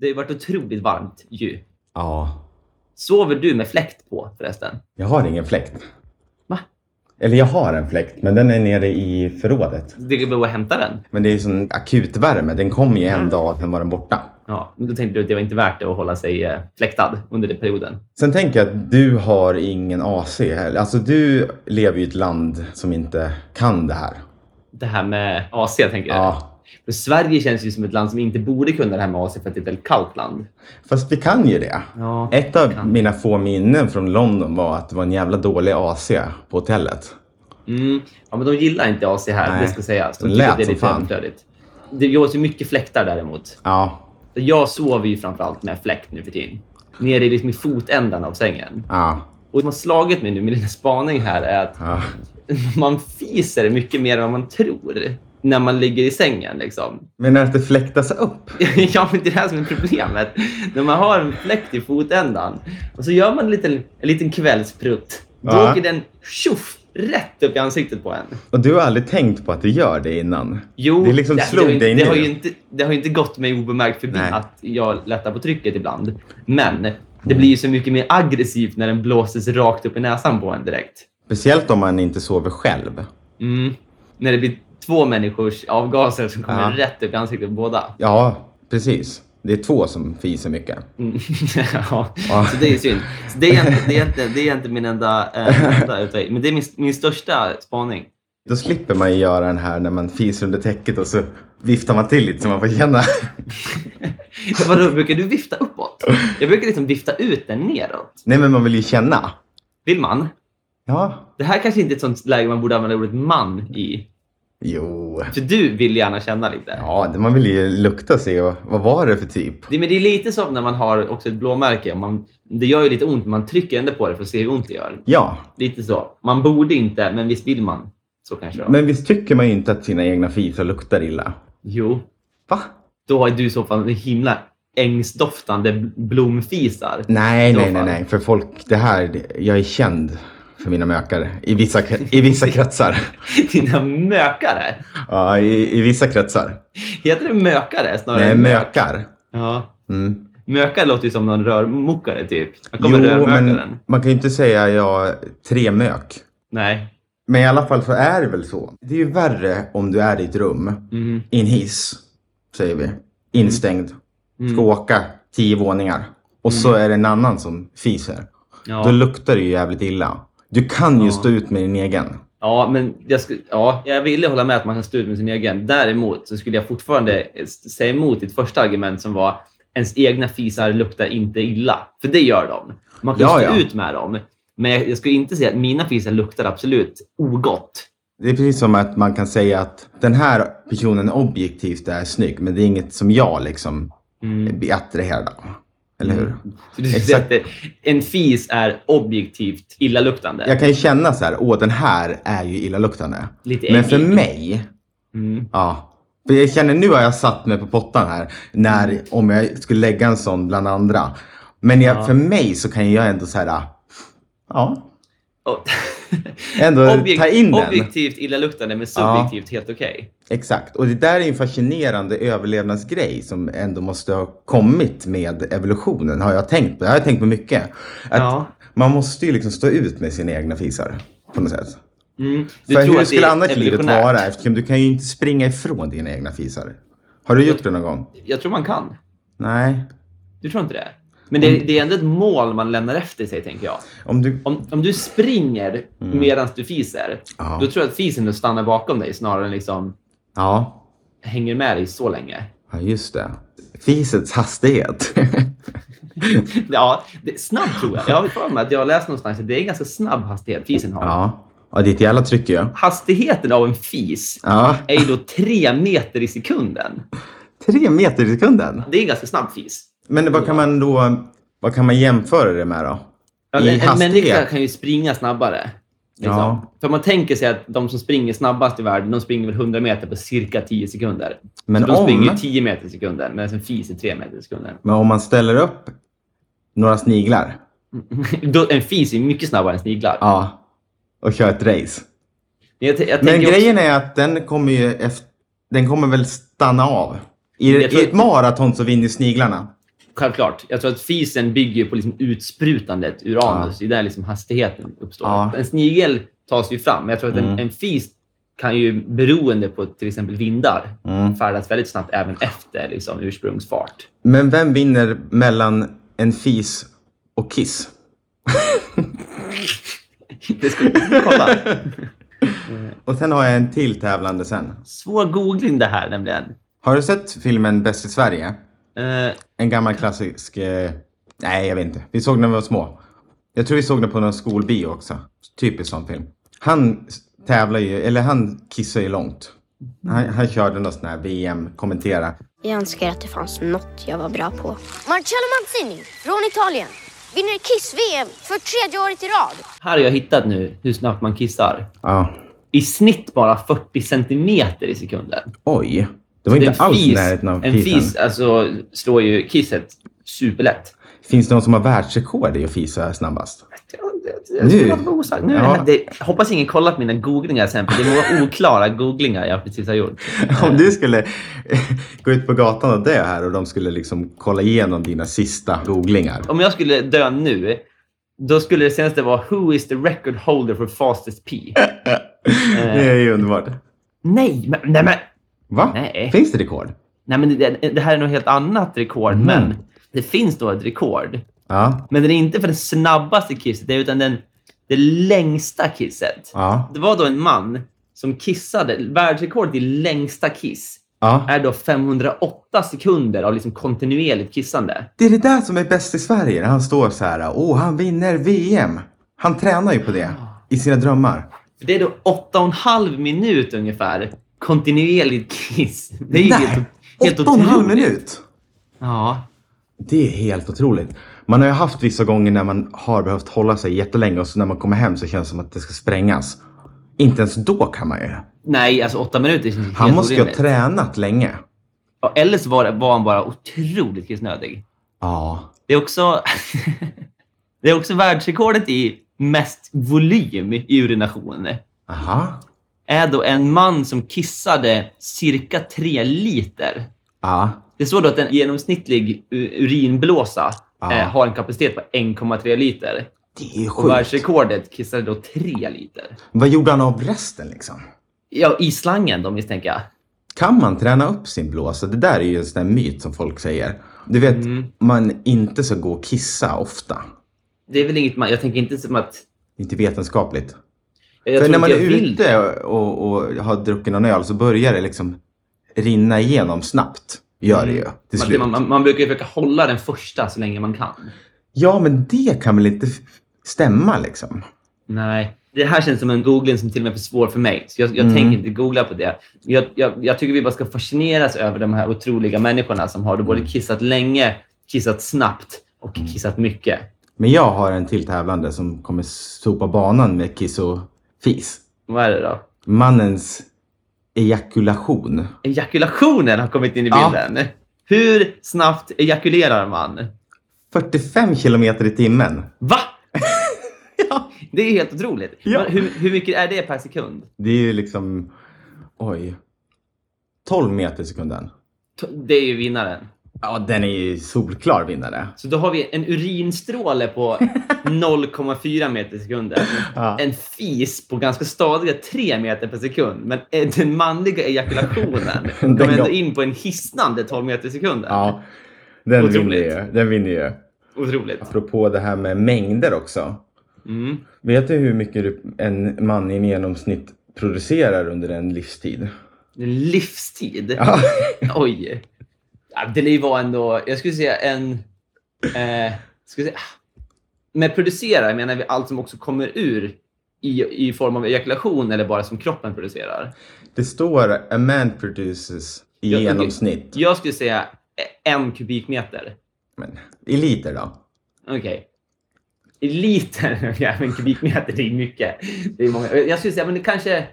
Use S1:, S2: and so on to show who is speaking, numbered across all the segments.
S1: Det har ju varit otroligt varmt ju.
S2: Ja.
S1: Sover du med fläkt på förresten?
S2: Jag har ingen fläkt.
S1: Va?
S2: Eller jag har en fläkt, men den är nere i förrådet.
S1: Det går bara att hämta den.
S2: Men det är ju sån akut värme. Den kom ju en dag, sen var den borta.
S1: Ja, men då tänkte du att det var inte värt det att hålla sig eh, fläktad under den perioden.
S2: Sen tänker jag att du har ingen AC här. Alltså du lever ju i ett land som inte kan det här.
S1: Det här med AC tänker jag.
S2: Ja.
S1: För Sverige känns ju som ett land som inte borde kunna det här med AC för att det är ett väldigt kallt land.
S2: Fast vi kan ju det.
S1: Ja.
S2: Ett av
S1: Kan.
S2: mina få minnen från London var att det var en jävla dålig AC på hotellet.
S1: Mm. Ja, men de gillar inte AC här,
S2: Nej.
S1: det ska sägas. De
S2: Det
S1: tycker
S2: lät
S1: att det är
S2: som
S1: lite
S2: fan.
S1: överflödigt. Det görs ju mycket fläktar däremot.
S2: Ja,
S1: Så Jag sover ju framförallt med fläkt nu för tiden. Nere i liksom i fotändan av sängen.
S2: ja,
S1: Och som har slagit mig nu med lilla spaning här är att
S2: ja.
S1: man fiser mycket mer än vad man tror när man ligger i sängen. Liksom.
S2: Men att det fläktas upp?
S1: ja, men det är det här som är problemet. När man har en fläkt i fotändan och så gör man en liten, en liten kvällsprutt. Då
S2: Ja.
S1: åker den tjoff rätt upp i ansiktet på en.
S2: Och du har aldrig tänkt på att det gör det innan?
S1: Jo,
S2: det liksom slog
S1: har ju,
S2: dig
S1: det
S2: nu.
S1: har ju inte, det har ju inte gått mig obemärkt förbi
S2: Nej.
S1: att jag lättar på trycket ibland. Men det blir ju så mycket mer aggressivt när den blåses rakt upp i näsan på en direkt.
S2: Speciellt om man inte sover själv.
S1: Mm. När det blir två människors avgaser som kommer
S2: Ja.
S1: rätt upp i ansiktet på båda.
S2: Ja, precis. Det är två som fiser mycket.
S1: Mm. ja.
S2: Ja.
S1: Så det är ju synd. Så det, är egentligen, det, är egentligen, det är egentligen min enda, eh, enda utväg. Men det är min, min största spaning.
S2: Då slipper man ju göra den här när man fiser under täcket och så viftar man till lite så man får känna.
S1: Vadå, brukar du vifta uppåt? Jag brukar liksom vifta ut den neråt.
S2: Nej, men man vill ju känna.
S1: Vill man?
S2: Ja.
S1: Det här kanske inte är ett sånt läge man borde använda ordet man i.
S2: Jo.
S1: För du vill gärna känna lite.
S2: Ja, det- man vill ju lukta sig och vad var det för typ?
S1: Det, men det är lite som när man har också ett blåmärke. och Man, det gör ju lite ont, men man trycker ändå på det för att se hur ont det gör.
S2: Ja,
S1: Lite så. Man borde inte, men visst vill man. Så kanske då.
S2: men visst tycker man ju inte att sina egna fisar luktar illa?
S1: Jo,
S2: Va?
S1: då har du i så fall en himla ängsdoftande bl- blomfisar.
S2: Nej,
S1: I så
S2: nej, nej,
S1: fall.
S2: nej. För folk, det här, det- jag är känd för mina mökare i vissa, kre- i vissa kretsar.
S1: Dina mökare.
S2: Ja, i, i vissa kretsar.
S1: Heter det mökare snarare?
S2: Nej,
S1: än-
S2: mökar.
S1: Ja.
S2: Mm.
S1: Mökare låter ju som någon rörmokare typ. Här kommer
S2: Jo,
S1: rörmökaren.
S2: men man kan ju inte säga jag tre mök.
S1: Nej.
S2: Men i alla fall så är det väl så. Det är ju värre om du är i ett rum,
S1: Mm.
S2: i en hiss, säger vi, instängd,
S1: Mm.
S2: ska åka tio våningar och så är det en annan som fiser.
S1: Ja.
S2: Då luktar det ju jävligt illa. Du kan ju
S1: Ja.
S2: stå ut med din egen.
S1: Ja, men jag, skulle, ja, jag ville hålla med att man kan stå ut med sin egen. Däremot så skulle jag fortfarande s- säga emot ditt första argument som var ens egna fisar luktar inte illa. För det gör de. Man kan
S2: Ja,
S1: stå
S2: ja.
S1: ut med dem. Men jag, jag skulle inte säga att mina fisar luktar absolut ogott.
S2: Det är precis som att man kan säga att den här personen objektivt är snygg, men det är inget som jag liksom
S1: Mm.
S2: blir attraherad av. Eller hur?
S1: Så du skulle
S2: Exakt.
S1: säga att det- en fis är objektivt illaluktande.
S2: Jag kan ju känna så här, åh den här är ju illaluktande.
S1: Lite
S2: Men för
S1: äcklig.
S2: mig,
S1: Mm.
S2: ja. För jag känner nu har jag satt mig på pottan här, när, om jag skulle lägga en sån bland andra. Men jag,
S1: Mm. Ja.
S2: för mig så kan jag ändå så här, ja,
S1: Och-
S2: ändå ta in den.
S1: Objektivt illaluktande men
S2: Ja.
S1: subjektivt helt okej.
S2: Exakt, och det där är en fascinerande överlevnadsgrej som ändå måste ha kommit med evolutionen, har jag tänkt på. Jag har tänkt på mycket. Att
S1: Ja.
S2: Man måste ju liksom stå ut med sina egna fisar på något sätt.
S1: Mm. Du
S2: För
S1: tror att
S2: hur
S1: det
S2: skulle
S1: är
S2: annars livet
S1: evolutionärt?
S2: vara eftersom du kan ju inte springa ifrån dina egna fisar. Har du gjort det någon gång?
S1: Jag tror man kan.
S2: Nej.
S1: Du tror inte det? Men det,
S2: Mm.
S1: det är ändå ett mål man lämnar efter sig, tänker jag.
S2: Om du...
S1: Om, om du springer medan du fiser,
S2: Mm. Ja.
S1: då tror jag att fisen stannar bakom dig snarare än liksom
S2: ja.
S1: hänger med dig så länge.
S2: ja, just det. Fisets hastighet.
S1: Ja, det, snabb tror jag. Jag har för mig att jag har läst någonstans att det är en ganska snabb hastighet fisen har.
S2: ja. ja, det är ett jävla tryck ju.
S1: Hastigheten av en fis
S2: Ja.
S1: är ju då tre meter i sekunden.
S2: Tre meter i sekunden.
S1: Det är en ganska snabb fis.
S2: Men vad kan man då vad kan man jämföra det med då?
S1: Ja,
S2: I
S1: en, en
S2: hastighet?
S1: människa kan ju springa snabbare. Liksom.
S2: Ja.
S1: För man tänker sig att de som springer snabbast i världen, de springer väl 100 meter på cirka 10 sekunder.
S2: Men
S1: så de springer ju
S2: om,
S1: 10 meter i sekunden, medan en fis är 3 meter i sekunden.
S2: men om man ställer upp några sniglar
S1: Då- en fis är mycket snabbare än sniglar.
S2: ja, och kör ett race.
S1: Men, jag, t- jag
S2: Men
S1: tänker
S2: grejen är att den kommer ju efter, den kommer väl stanna av. I,
S1: Jag tror-
S2: i ett maraton så vinner sniglarna.
S1: också- Självklart. Jag tror att fisen bygger på liksom utsprutandet ur anus. Det är där liksom hastigheten uppstår.
S2: Ja.
S1: En snigel tas ju fram, men jag tror att en,
S2: Mm.
S1: en fis kan ju, beroende på till exempel vindar,
S2: Mm.
S1: färdas väldigt snabbt även efter liksom, ursprungsfart.
S2: Men vem vinner mellan en fis och kiss?
S1: Det ska vi kolla.
S2: Och sen har jag en till tävlande sen.
S1: Svår googling det här nämligen.
S2: Har du sett filmen Bäst i Sverige?
S1: Eh,
S2: En gammal klassisk... Eh, nej, jag vet inte. Vi såg den när vi var små. Jag tror vi såg den på någon skolbio också. Typisk sån film. Han s- tävlar ju, eller han kissar ju långt. Han, han körde någon sån här VM-kommentera.
S3: Jag önskar att det fanns något jag var bra på. Marcello Mazzini från Italien vinner Kiss-VM för tredje året i rad.
S1: här har jag hittat nu hur snabbt man kissar.
S2: Ja.
S1: I snitt bara 40 centimeter i sekunden.
S2: Oj. Det var inte
S1: en
S2: alls i
S1: fis,
S2: närheten av
S1: en
S2: fisen.
S1: fis alltså, slår ju kisset superlätt.
S2: Finns det någon som har världsrekord i att fisa snabbast?
S1: Jag skulle låta det vara osagt. Nu,
S2: Ja.
S1: det, jag hoppas ingen kollat mina googlingar sen, för det är många oklara googlingar jag precis har gjort.
S2: Om du skulle gå ut på gatan och dö här och de skulle liksom kolla igenom dina sista googlingar.
S1: Om jag skulle dö nu, då skulle det senaste vara “Who is the record holder for fastest pee?” Eh,
S2: Det är ju underbart.
S1: Nej, men, nej, men,
S2: Va?
S1: Nej.
S2: Finns det rekord?
S1: nej, men det, det här är något helt annat rekord,
S2: Mm.
S1: men det finns då ett rekord.
S2: Ja.
S1: Men den är inte för det snabbaste kisset, det är utan den, det längsta kisset.
S2: Ja.
S1: Det var då en man som kissade. Världsrekordet i längsta kiss
S2: ja.
S1: är då 508 sekunder av liksom kontinuerligt kissande.
S2: Det är det där som är bäst i Sverige. När han står så här. Åh, han vinner VM. Han tränar ju på det i sina drömmar.
S1: Det är då 8,5 minut ungefär kontinuerligt kiss. Det är ju helt, helt
S2: åtta och en halv
S1: otroligt.
S2: minut.
S1: Ja.
S2: Det är helt otroligt. Man har ju haft vissa gånger när man har behövt hålla sig jättelänge och så när man kommer hem så känns det som att det ska sprängas. Inte ens då kan man ju.
S1: Nej, alltså 8 minuter känns helt
S2: Han måste ju ha
S1: orimligt.
S2: tränat länge.
S1: Ja, Eller så var, det- var han bara otroligt kissnödig.
S2: Ja.
S1: Det är också, det är också världsrekordet i mest volym i urination.
S2: Aha.
S1: är då en man som kissade cirka tre liter.
S2: Ja.
S1: Det står då att en genomsnittlig u- urinblåsa
S2: Ja.
S1: eh, har en kapacitet på 1,3 liter.
S2: Det är ju
S1: Och
S2: sjukt.
S1: världsrekordet kissade då 3 liter.
S2: Vad gjorde han av resten liksom?
S1: Ja, i slangen då misstänker jag.
S2: Kan man träna upp sin blåsa? Det där är ju en sån där myt som folk säger. Du vet,
S1: Mm.
S2: man inte ska gå och kissa ofta.
S1: Det är väl inget man... Jag tänker inte som att...
S2: Det är inte vetenskapligt.
S1: Jag
S2: För
S1: tror
S2: när man
S1: inte
S2: är
S1: jag vill.
S2: ute och, och har druckit någon öl så börjar det liksom rinna igenom snabbt. Gör det ju till
S1: Man-
S2: slut.
S1: Mm. Man, man, man brukar ju försöka hålla den första så länge man kan.
S2: Ja, men det kan väl inte f- stämma liksom?
S1: Nej. Det här känns som en googling som till och med är för svår för mig. Så jag, jag
S2: Mm.
S1: tänker inte googla på det. Jag, jag, jag tycker vi bara ska fascineras över de här otroliga människorna som har då både
S2: Mm.
S1: kissat länge, kissat snabbt och kissat mycket.
S2: Men jag har en till tävlande som kommer sopa banan med kiss och fis.
S1: Vad är det då?
S2: Mannens ejakulation.
S1: Ejakulationen har kommit in i
S2: Ja.
S1: bilden. Hur snabbt ejakulerar man?
S2: 45 kilometer i timmen.
S1: Va? Det är helt otroligt.
S2: Ja.
S1: Men Hur, hur mycket är det per sekund?
S2: Det är ju liksom, oj, 12 meter i sekunden.
S1: T- Det är ju vinnaren.
S2: Ja, den är ju solklar vinnare.
S1: Så då har vi en urinstråle på 0,4 meter i sekunden.
S2: Ja.
S1: En fis på ganska stadiga 3 meter per sekund. Men eh, den manliga ejakulationen
S2: Den
S1: kom ändå
S2: gav-
S1: in på en hisnande 12 meter i sekunden.
S2: Ja, den
S1: Otroligt.
S2: vinner ju. Den vinner ju.
S1: Otroligt.
S2: Apropå det här med mängder också.
S1: Mm.
S2: Vet du hur mycket du- en man i genomsnitt producerar under en livstid?
S1: En livstid.
S2: Ja.
S1: Oj. Ja, det lär ju vara ändå... Jag skulle säga en... Eh, skulle säga, med producera menar vi allt som också kommer ur i, i form av ejakulation eller bara som kroppen producerar.
S2: Det står a man produces i
S1: Ja, okej.
S2: genomsnitt.
S1: Jag skulle säga en kubikmeter.
S2: Men, I liter då?
S1: Okej. I liter, ja, men kubikmeter, det är mycket. Det är många. Jag skulle säga men det kanske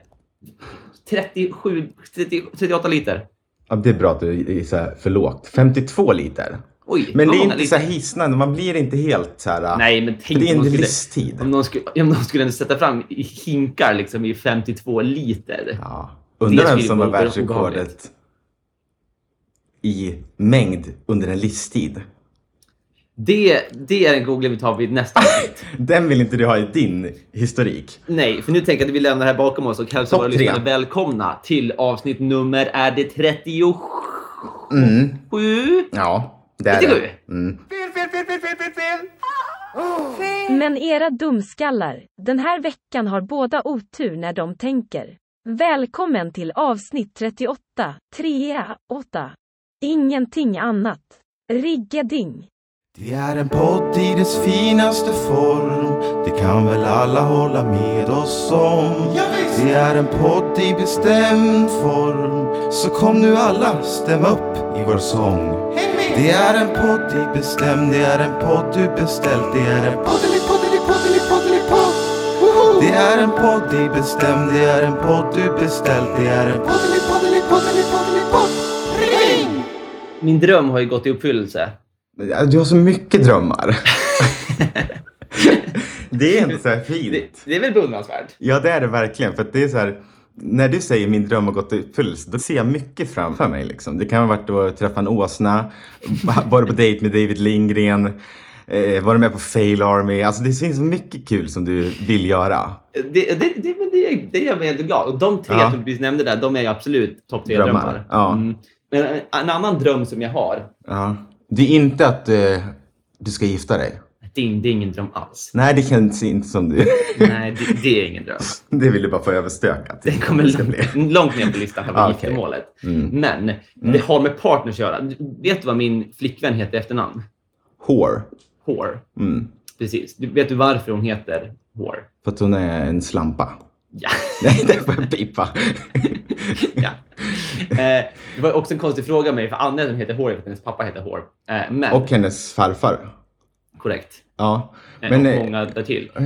S1: 37, 30, 38 liter.
S2: Ja, det är bra att du gissar för lågt. 52 liter.
S1: Oj,
S2: Men det
S1: vad
S2: är
S1: många
S2: inte så här
S1: liter.
S2: hisnande. Man blir inte helt så här... ah,
S1: Nej, men
S2: för
S1: tänk
S2: det är
S1: om
S2: en
S1: de skulle,
S2: livstid.
S1: om de skulle, om de skulle sätta fram i hinkar liksom i 52 liter.
S2: Ja. Undrar vem
S1: skulle
S2: som
S1: vara
S2: har världsrekordet
S1: obehagligt.
S2: i mängd under en livstid.
S1: Det, det är en googling vi tar vid nästa avsnitt.
S2: Den vill inte du ha i din historik.
S1: Nej, för nu tänker jag att vi lämnar det här bakom oss och hälsar
S2: Topp
S1: våra
S2: tre.
S1: lyssnare välkomna till avsnitt nummer är det 37?
S2: Mm.
S1: Sju?
S2: Ja, det är
S1: Det tycker
S2: det. Mm.
S4: Men era dumskallar, den här veckan har båda otur när de tänker. Välkommen till avsnitt 38, 3, 8. Ingenting annat. Riggeding.
S5: Det är en podd i dess finaste form Det kan väl alla hålla med oss om Det är en podd i bestämd form Så kom nu alla, stäm upp i vår sång Det är en podd i bestämd Det är en podd du beställt Det är en poddeli poddeli poddeli poddeli podd Det är en podd i bestämd Det är en podd du beställt Det är en poddeli poddeli poddeli poddeli podd Ring!
S1: Min dröm har ju gått i uppfyllelse.
S2: Du har så mycket drömmar. det är inte så här
S1: Det,
S2: fint.
S1: det är väl beundransvärt?
S2: Ja, det är det verkligen. För att det är så här, när du säger min dröm har gått i uppfyllelse, då ser jag mycket framför mig. Liksom. Det kan ha varit att träffa en åsna, vara på dejt med David Lindgren, eh, vara med på Fail Army. Alltså det finns så mycket kul som du vill göra.
S1: Det, det, det, men det, det gör mig helt glad. Och de tre
S2: Ja.
S1: som du precis nämnde där, de är ju absolut topp tre
S2: Drömmar.
S1: drömmar.
S2: Ja.
S1: Mm. Men en, en annan dröm som jag har,
S2: Ja. Det är inte att eh, du ska gifta dig.
S1: det är, det är ingen dröm alls.
S2: Nej, det känns inte som du.
S1: Nej, det, det är ingen dröm.
S2: det vill du bara få överstökat.
S1: Det kommer långt, långt ner på listan, själva
S2: Ah, okej.
S1: giftermålet.
S2: Mm.
S1: Men det har med partners att göra. Vet du vad min flickvän heter i efternamn?
S2: Hår.
S1: Hår.
S2: Mm.
S1: Precis. Du, vet du varför hon heter Hår?
S2: För att hon är en slampa.
S1: Ja.
S2: Nej, det får jag pipa.
S1: ja. Eh, det var också en konstig fråga av mig, för Anne som heter Hår, jag vet att hennes pappa heter Hår. Eh, men,
S2: Och hennes farfar.
S1: korrekt.
S2: Ja.
S1: Eh,
S2: Men,
S1: och
S2: eh,
S1: många därtill.
S2: eh,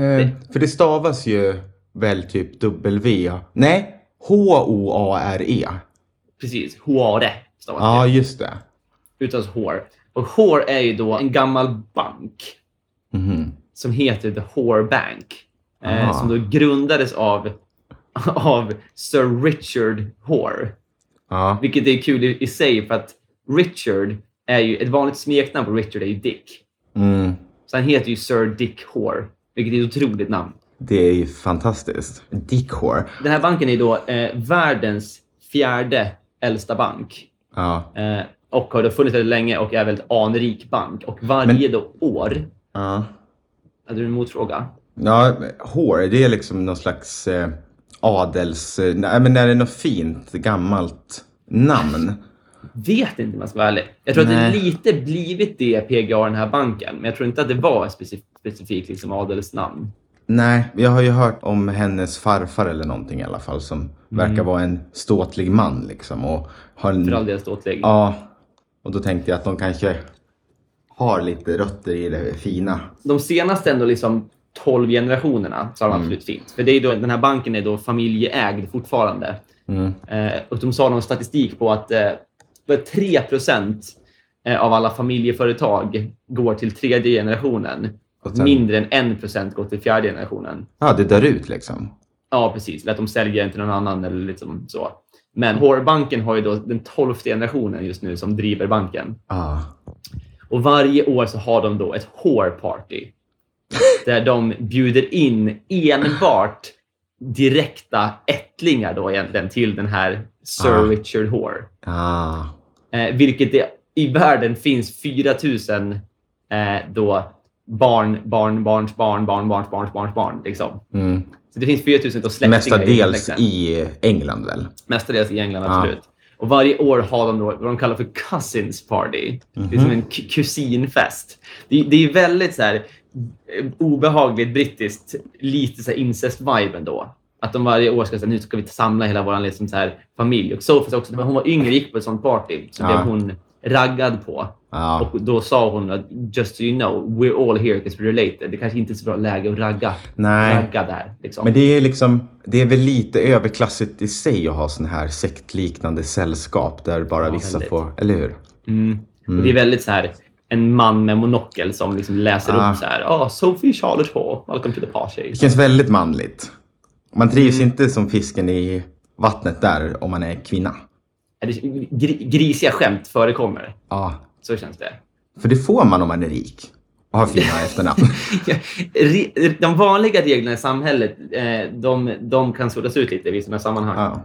S2: för det stavas ju väl typ W. Nej, H-O-A-R-E.
S1: Precis. Håre stavas det.
S2: Ja, E. just det.
S1: Utan Hår. Och Hår är ju då en gammal bank
S2: Mhm.
S1: som heter The Whore Bank.
S2: Aha.
S1: Eh, som då grundades av, av Sir Richard Whore.
S2: Ja.
S1: Vilket är kul i, i sig för att Richard är ju, ett vanligt smeknamn på Richard är ju Dick.
S2: Mm.
S1: Så han heter ju Sir Dick Whore. Vilket är ett otroligt namn.
S2: Det är ju fantastiskt. Dick Hår.
S1: Den här banken är då eh, världens fjärde äldsta bank.
S2: Ja.
S1: Eh, och har då funnits väldigt länge och är väldigt anrik bank. Och varje då år...
S2: ja.
S1: Hade du en motfråga?
S2: Ja, hår, det är liksom någon slags eh, adels... Eh, nej, men är det något fint gammalt namn?
S1: Vet inte om jag ska vara ärlig. Jag tror att det
S2: Nej.
S1: lite blivit det PGA den här banken. Men jag tror inte att det var ett specif- specifikt liksom, adelsnamn.
S2: Nej, jag har ju hört om hennes farfar eller någonting i alla fall som verkar vara en ståtlig man liksom och har en...
S1: Mm. För all del ståtlig.
S2: Ja, och då tänkte jag att de kanske har lite rötter i det fina.
S1: De senaste ändå liksom 12 generationerna så har
S2: Mm.
S1: de absolut fint. För det är då, den här banken är då familjeägd fortfarande.
S2: Mm.
S1: Eh, och de sa någon statistik på att eh, bara 3 eh, av alla familjeföretag går till tredje generationen.
S2: Och sen-
S1: Mindre än 1 går till fjärde generationen.
S2: Ja, det dör ut liksom.
S1: Ja, precis. Eller att de säljer den till någon annan eller liksom så. Men hårbanken har ju då den tolfte generationen just nu som driver banken.
S2: Ja.
S1: Och varje år så har de då ett hårparty. Där de bjuder in enbart direkta ättlingar då egentligen till den här Sir
S2: Ah.
S1: Richard Hoare.
S2: Ah.
S1: Eh, vilket det, i världen finns 4000 eh, då barn, barn, barns barn, barn, barns barns barns barn. Liksom.
S2: Mm.
S1: Så det finns 4000 då släktingar i
S2: Mestadels
S1: släkten.
S2: i England väl?
S1: Mestadels i England,
S2: Ja.
S1: absolut. Och varje år har de då vad de kallar för cousins party. Det är
S2: Mhm.
S1: som en ku- kusinfest. Det, det är väldigt så här, eh, obehagligt brittiskt, lite så här incest-vibe ändå. Att de varje år ska säga nu ska vi samla hela vår liksom så här, familj. Och Sophie också, när hon var yngre gick på ett sånt party. Så
S2: Ja.
S1: blev hon raggad på.
S2: Ja.
S1: Och då sa hon att just so you know, we're all here because we're related. Det kanske inte är så bra läge att ragga,
S2: Nej.
S1: ragga där. Liksom.
S2: Men det är liksom, det är väl lite överklassigt i sig att ha sån här sektliknande sällskap där bara
S1: Ja,
S2: vissa
S1: väldigt.
S2: får, eller hur?
S1: Mm. Och det är väldigt så här en man med monokel som liksom läser
S2: Ah.
S1: upp så här. Ah, Sophie Charlotte Hall, welcome to the party.
S2: Det känns väldigt manligt. Man trivs inte som fisken i vattnet där om man är kvinna.
S1: Är det- gri- Grisiga skämt förekommer.
S2: Ja,
S1: Så känns det.
S2: för det får man om man är rik. och har fina efternamn.
S1: Re- De vanliga reglerna i samhället, eh, de, de kan suddas ut lite i vissa sammanhang.
S2: Ja.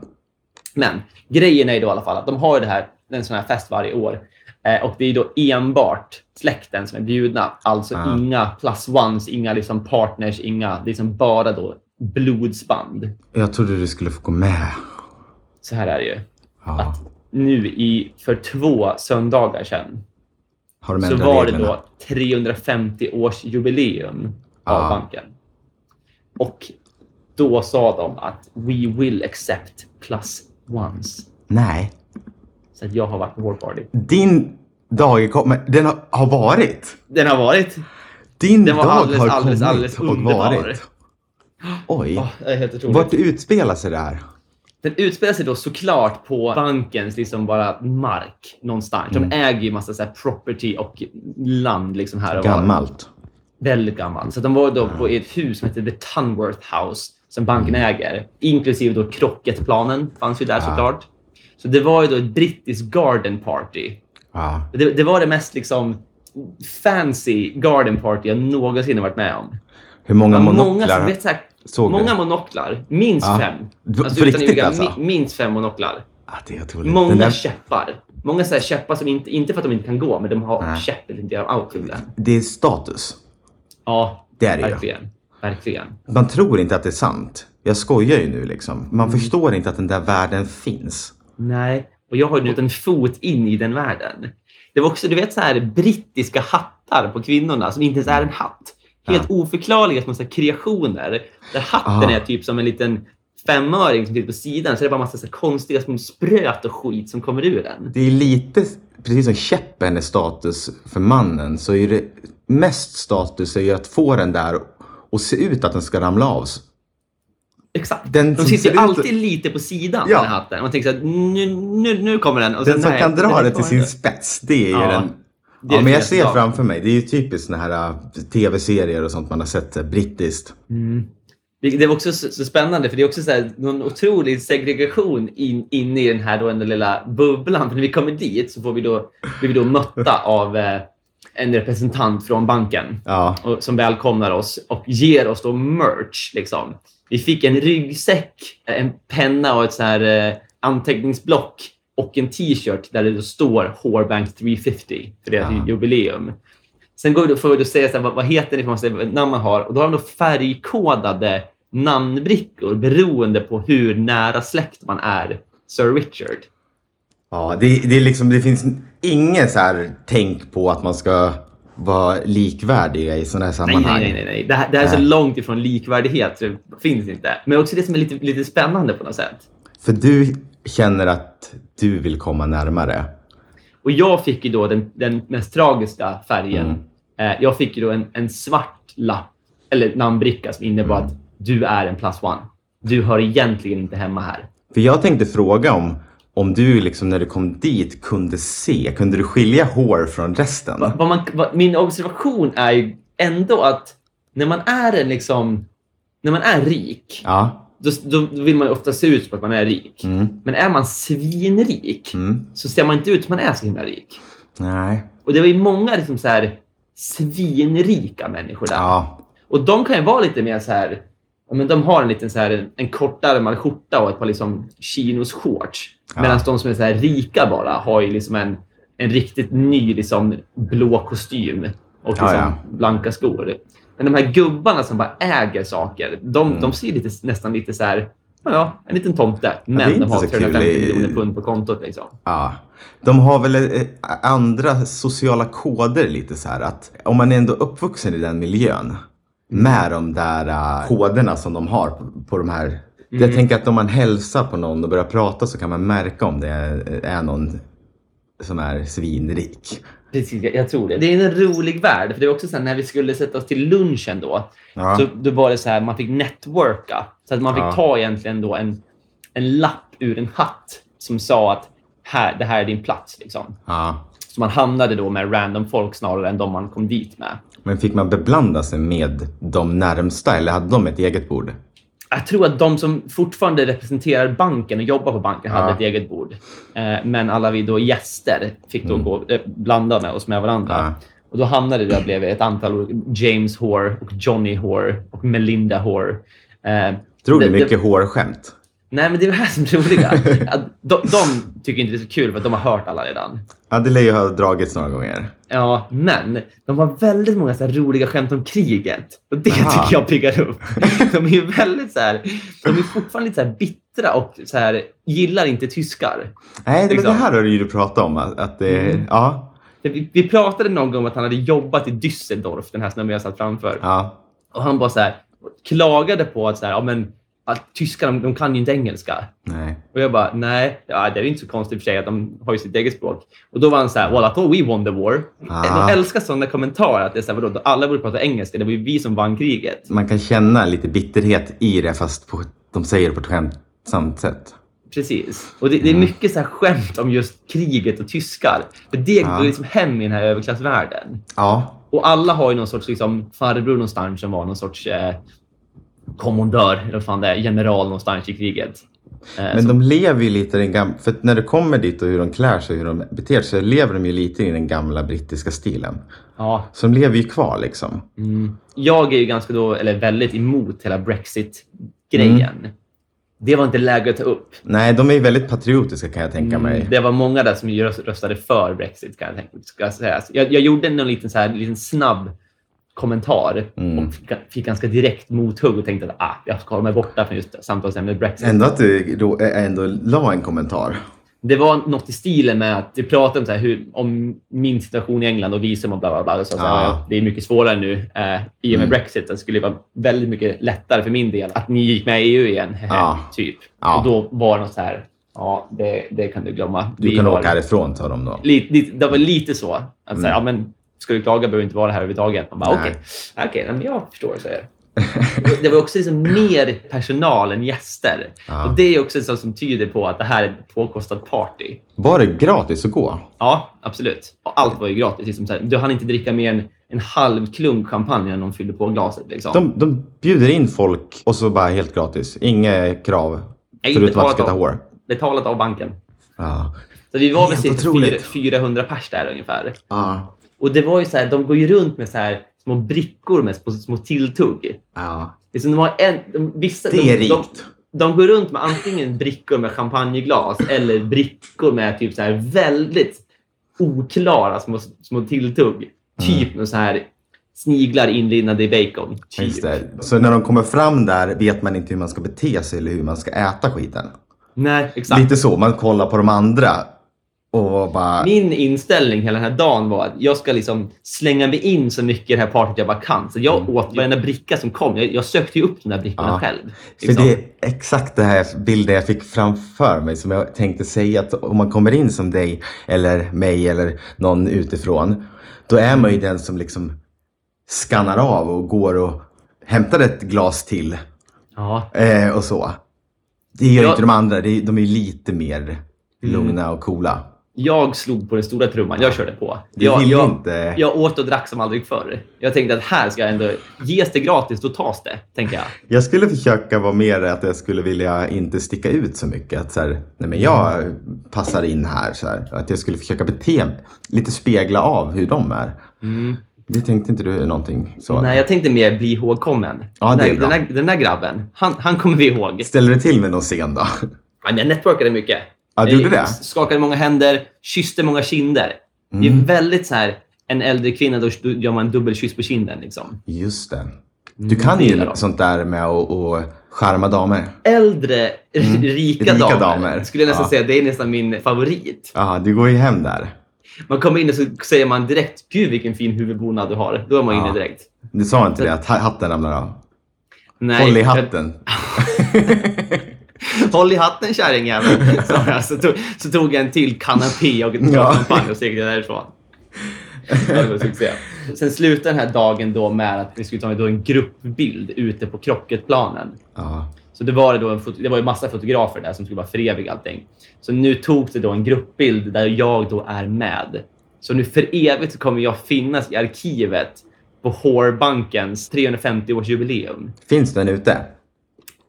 S1: Men grejen är ju då i alla fall att de har ju det här, en sån här fest varje år. Eh, och det är ju då enbart släkten som är bjudna. Alltså
S2: Ah.
S1: inga plus ones, inga liksom partners, inga, det är som bara då blodsband.
S2: Jag trodde du skulle få gå med.
S1: Så här är det ju.
S2: Ja.
S1: Nu i, för två söndagar sedan
S2: Har de
S1: så
S2: ändrat
S1: var det
S2: reglerna?
S1: då 350 års jubileum av
S2: Ah.
S1: banken. Och då sa de att we will accept plus ones.
S2: Nej.
S1: Så att jag har varit på vår party.
S2: Din dag kommer... Den har, har varit.
S1: Den har varit
S2: Din
S1: Den var
S2: dag
S1: alldeles,
S2: har
S1: alldeles,
S2: kommit
S1: alldeles
S2: och
S1: underbar.
S2: varit. Oj.
S1: Åh, det är helt otroligt.
S2: Vart utspelar sig det här?
S1: Den utspelar sig då såklart på bankens liksom bara mark någonstans. De äger ju massa så här property och land liksom här och var.
S2: Gammalt.
S1: Väldigt gammalt. Så de var då på ett hus som heter The Tunworth House som banken
S2: Mm.
S1: äger. Inklusive då Krocketplanen fanns ju där såklart. Så det var ju då ett brittiskt garden party.
S2: Ja.
S1: Det, det var det mest liksom fancy garden party jag någonsin har varit med om.
S2: Hur många
S1: Många,
S2: monoklar?
S1: som- vet, så här,
S2: såg du?
S1: många monoklar. Minst
S2: Ja.
S1: fem.
S2: Du-
S1: Alltså,
S2: på
S1: utan
S2: riktigt
S1: ljuga,
S2: alltså?
S1: mi- Minst fem monoklar.
S2: Ah, det är otroligt.
S1: Många
S2: Den där,
S1: käppar. Många så här käppar som inte, inte för att de inte kan gå, men de har
S2: Nej.
S1: käpp eller inte har outfielden.
S2: det är status.
S1: Ja,
S2: Det är det ju.
S1: verkligen. Verkligen.
S2: Man tror inte att det är sant. Jag skojar ju nu liksom. Man
S1: Mm.
S2: förstår inte att den där världen finns.
S1: Nej, och jag har ju nu fått en fot in i den världen. Det var också, du vet, så här brittiska hattar på kvinnorna som inte ens är en hatt. Helt oförklarliga små så här kreationer. Där hatten
S2: Ah.
S1: är typ som en liten femöring som sitter på sidan. Så det är bara massa så här konstiga små spröt och skit som kommer ur den.
S2: Det är lite, precis som käppen är status för mannen, så är det mest status är ju att få den där och se ut att den ska ramla av.
S1: Exakt.
S2: Den
S1: de
S2: som
S1: sitter
S2: ser
S1: ju
S2: ut-
S1: alltid lite på sidan,
S2: Ja.
S1: den här hatten. Man tänker så här, nu, nu, nu kommer den. Och
S2: Den
S1: sen,
S2: som
S1: nej,
S2: kan dra
S1: den
S2: det till
S1: kommer
S2: sin
S1: inte.
S2: spets, det är ju
S1: Ja,
S2: den.
S1: det är
S2: ja, men jag
S1: det
S2: ser
S1: bästa.
S2: framför mig, det är ju typiskt såna här äh, tv-serier och sånt man har sett, så här, brittiskt.
S1: Det, det var också så, så spännande, för det är också så här, någon otrolig segregation in, in i den här då, den där lilla bubblan. För när vi kommer dit så får vi då, blir vi då mötta av eh, en representant från banken
S2: Ja,
S1: och, som välkomnar oss och ger oss då merch. Liksom. Vi fick en ryggsäck, en penna och ett så här, eh, anteckningsblock och en t-shirt där det då står Hårbank 350 för deras
S2: Ah.
S1: jubileum. Sen går vi då, får vi då säga så här, vad, vad heter ni för massa namn man har och då har de då färgkodade namnbrickor beroende på hur nära släkt man är Sir Richard.
S2: ja det, det, är liksom, det finns ingen så här tänk på att man ska vara likvärdiga i sådana här
S1: Nej,
S2: sammanhang.
S1: nej, nej. nej, nej. Det, här, det här är så
S2: Nej.
S1: långt ifrån likvärdighet så det finns inte. Men också det som är lite, lite spännande på något sätt.
S2: För du känner att du vill komma närmare.
S1: Och jag fick ju då den, den mest tragiska färgen.
S2: Mm.
S1: Eh, jag fick ju då en, en svart lapp, eller namnbricka, som innebar
S2: Mm.
S1: att du är en plus one. Du hör egentligen inte hemma här.
S2: För jag tänkte fråga om, om du liksom när du kom dit kunde se, kunde du skilja hår från resten?
S1: Vad man, vad, min observation är ju ändå att när man är en liksom, när man är rik,
S2: Ja.
S1: då, då vill man ju ofta se ut som att man är rik.
S2: Mm.
S1: Men är man svinrik
S2: Mm.
S1: så ser man inte ut som man är så himla rik.
S2: Nej.
S1: Och det var ju många liksom så här svinrika människor där.
S2: Ja.
S1: Och de kan ju vara lite mer så här... ja, Men de har en liten så här, en kortärmad skjorta och ett par liksom chinos shorts.
S2: Ja.
S1: Medan de som är så här rika bara har ju liksom en, en riktigt ny liksom blå kostym och
S2: Ja,
S1: liksom
S2: ja.
S1: blanka skor. Men de här gubbarna som bara äger saker, de,
S2: Mm.
S1: de ser lite, nästan lite så här... Ja, ja, en liten tomte. Men
S2: inte
S1: de har
S2: så kul
S1: 350
S2: i-
S1: miljoner pund på kontot. Liksom.
S2: ja. De har väl eh, andra sociala koder lite så här att om man är ändå uppvuxen i den miljön med de där eh, koderna som de har på, på de här. Jag tänker att om man hälsar på någon och börjar prata så kan man märka om det är, eh, är någon som är svinrik.
S1: Precis, jag, jag tror det. Det är en rolig värld. För det var också så här, när vi skulle sätta oss till lunchen då,
S2: Ja.
S1: så då var det så här, man fick networka. Så att man fick
S2: Ja.
S1: ta egentligen då en, en lapp ur en hatt som sa att här, det här är din plats. Liksom.
S2: Ja.
S1: Så man hamnade då med random folk snarare än de man kom dit med.
S2: Men fick man beblanda sig med de närmsta eller hade de ett eget bord?
S1: Jag tror att de som fortfarande representerar banken och jobbar på banken hade
S2: Ja.
S1: ett eget bord. Eh, men alla vi då gäster fick då gå, eh, blanda med oss med varandra.
S2: Mm. Ja.
S1: Och då hamnade det där bredvid ett antal olika- James Hoare, och Johnny Hoare och Melinda Hoare. Eh,
S2: Drog
S1: det-
S2: du
S1: det-
S2: mycket hårskämt?
S1: Nej, men det är det här som är roliga. Att de, de tycker inte det är så kul för att de har hört alla redan.
S2: Ja, det lär ju ha dragits några gånger.
S1: Ja, men de har väldigt många så här roliga skämt om kriget. Och det
S2: Aha.
S1: tycker jag piggar upp. De är ju väldigt så här, de är fortfarande lite så här bittra och så här, gillar inte tyskar.
S2: Nej, det, men det
S1: Exakt.
S2: här har du ju pratat om. Att, att det,
S1: Mm.
S2: ja,
S1: Vi, vi pratade någon gång om att han hade jobbat i Düsseldorf, den här snubben jag satt framför.
S2: ja.
S1: Och han bara så här, klagade på att, så här, ja, men, att tyskar de, de kan ju inte engelska.
S2: Nej.
S1: Och jag bara, nej, ja, det är ju inte så konstigt i och för sig att de har ju sitt eget språk. Och då var han så här, well I thought we won the war.
S2: Ah.
S1: De älskar sådana kommentarer att det är så här, vadå, alla borde prata engelska, det var ju vi som vann kriget.
S2: Man kan känna lite bitterhet i det fast på, de säger det på ett skämtsamt sätt.
S1: Precis. Och det, det är
S2: Mm.
S1: mycket så här skämt om just kriget och tyskar. För det
S2: Ah.
S1: går liksom hem i den här överklassvärlden.
S2: Ja,
S1: Och alla har ju någon sorts liksom, farbror någonstans som var någon sorts eh, kommandör, eller vad fan det är, general någonstans i kriget. Eh,
S2: Men de lever ju lite i den gamla... För att när du kommer dit och hur de klär sig och hur de beter sig lever de ju lite i den gamla brittiska stilen.
S1: ja,
S2: Så de lever ju kvar liksom.
S1: Mm. Jag är ju ganska då, eller väldigt emot hela Brexit-grejen.
S2: Mm.
S1: Det var inte läge att ta upp.
S2: Nej, de är ju väldigt patriotiska kan jag tänka
S1: Mm.
S2: mig.
S1: Det var många där som ju röst- röstade för Brexit, kan jag, tänka, ska jag säga. Så Jag, jag gjorde någon liten, så här, liten snabb kommentar
S2: Mm.
S1: och fick, fick ganska direkt mothugg och tänkte att ah, jag ska hålla mig borta från just samtalsämnet Brexit.
S2: Ändå att du då ändå la en kommentar.
S1: Det var något i stilen med att vi pratade om, så här, hur, om min situation i England och visum och bla bla bla. Och så, så
S2: Ah.
S1: här, ja, det är mycket svårare nu eh, i och med
S2: Mm.
S1: Brexit. Det skulle vara väldigt mycket lättare för min del att ni gick med i EU igen.
S2: Ja.
S1: typ.
S2: Ja.
S1: Och då var det något så här, ja det, det kan du glömma.
S2: Du
S1: Vi
S2: kan
S1: har-
S2: åka härifrån, sa de då.
S1: Lite, lite, det var lite så. Att, så här,
S2: Mm.
S1: ja, men, ska du klaga behöver du inte vara här överhuvudtaget. Man bara,
S2: Nej.
S1: okej, okej, nej, men jag förstår. Så här. det var också liksom mer personal än gäster.
S2: Ja.
S1: Och Det är också en sak som tyder på att det här är ett påkostat party.
S2: Var det gratis att gå?
S1: Ja, absolut. Och allt var ju gratis. Liksom så här, du hann inte dricka mer än en halv klunk champagne när de fyllde på glaset. Liksom.
S2: De, de bjuder in folk och så bara helt gratis. Inga krav.
S1: Nej,
S2: Förutom att
S1: betalat
S2: ska ta
S1: av-
S2: hår.
S1: Betalat av banken.
S2: Ja.
S1: Så vi var väl
S2: Helt
S1: cirka
S2: otroligt.
S1: fyra- 400 pers där ungefär.
S2: Ja.
S1: Och det var ju så här, de går ju runt med så här små brickor med små, små tilltugg.
S2: ja.
S1: Liksom de har en, de, vissa,
S2: Det är
S1: de, de,
S2: rikt.
S1: de går runt med antingen brickor med champagneglas eller brickor med typ så här väldigt oklara små, små tilltugg. Typ
S2: Mm.
S1: någon så här sniglar inlindade i bacon. Typ.
S2: Just det. Så när de kommer fram där vet man inte hur man ska bete sig eller hur man ska äta skiten.
S1: Nej, exakt.
S2: Lite så, man kollar på de andra och bara...
S1: Min inställning hela den här dagen var att jag ska liksom slänga mig in så mycket i det här partyt jag bara kan. Så jag åt varenda bricka som kom. Jag, jag sökte ju upp de där brickorna
S2: Mm. Ja.
S1: själv.
S2: För
S1: liksom.
S2: det är exakt det här bilden jag fick framför mig som jag tänkte säga att om man kommer in som dig eller mig eller någon utifrån, då är man ju den som liksom skannar av och går och hämtar ett glas till
S1: Ja.
S2: eh, och så. Det gör
S1: Ja.
S2: inte de andra, det är, de är ju lite mer lugna och coola.
S1: Jag slog på den stora trumman. Jag körde på.
S2: Du
S1: Jag,
S2: vill
S1: jag,
S2: inte...
S1: jag åt och drack som aldrig förr. Jag tänkte att här ska jag ändå... Ges det gratis, då tas det. Tänker jag.
S2: Jag skulle försöka vara mer att jag skulle vilja inte sticka ut så mycket. Att så här, nej men jag passar in här, så här. Att jag skulle försöka bete mig. Lite spegla av hur de är. Det tänkte inte du någonting så?
S1: Nej, jag tänkte mer bli ihågkommen.
S2: Ja, det är
S1: den, här-
S2: bra.
S1: den, här, den där grabben, han, han kommer vi ihåg.
S2: Ställer du till med någon scen då?
S1: Ja, men jag networkade mycket.
S2: Ja, du
S1: Eh,
S2: gjorde det?
S1: Skakade många händer, kysste många kinder. Det
S2: Mm.
S1: är väldigt så här, en äldre kvinna, då gör man en dubbelkyss på kinden. Liksom.
S2: Just det. Du kan ju
S1: gillar de.
S2: sånt där med att och charma damer.
S1: Äldre, rika,
S2: Mm. Rika
S1: damer,
S2: damer.
S1: skulle jag nästan
S2: Ja.
S1: säga, det är nästan min favorit.
S2: Ja, Ah, du går ju hem där.
S1: Man kommer in och så säger man direkt, gud vilken fin huvudbonad du har. Då är man
S2: Ja.
S1: inne direkt.
S2: Du sa inte det att ha- hatten ramlar av?
S1: Nej,
S2: Håll i
S1: jag-
S2: hatten.
S1: Håll i hatten kärringjävel, sa jag. Så tog, så tog jag en till kanapé och ett glas
S2: Ja.
S1: champagne och seglade därifrån. Ja, det var succé. Sen slutade den här dagen då med att vi skulle ta då en gruppbild ute på Krocketplanen.
S2: Ja.
S1: Så det var, det då en foto, det var ju massa fotografer där som skulle bara föreviga allting. Så nu togs det då en gruppbild där jag då är med. Så nu för evigt så kommer jag finnas i arkivet på Hårbankens 350-årsjubileum.
S2: Finns den ute?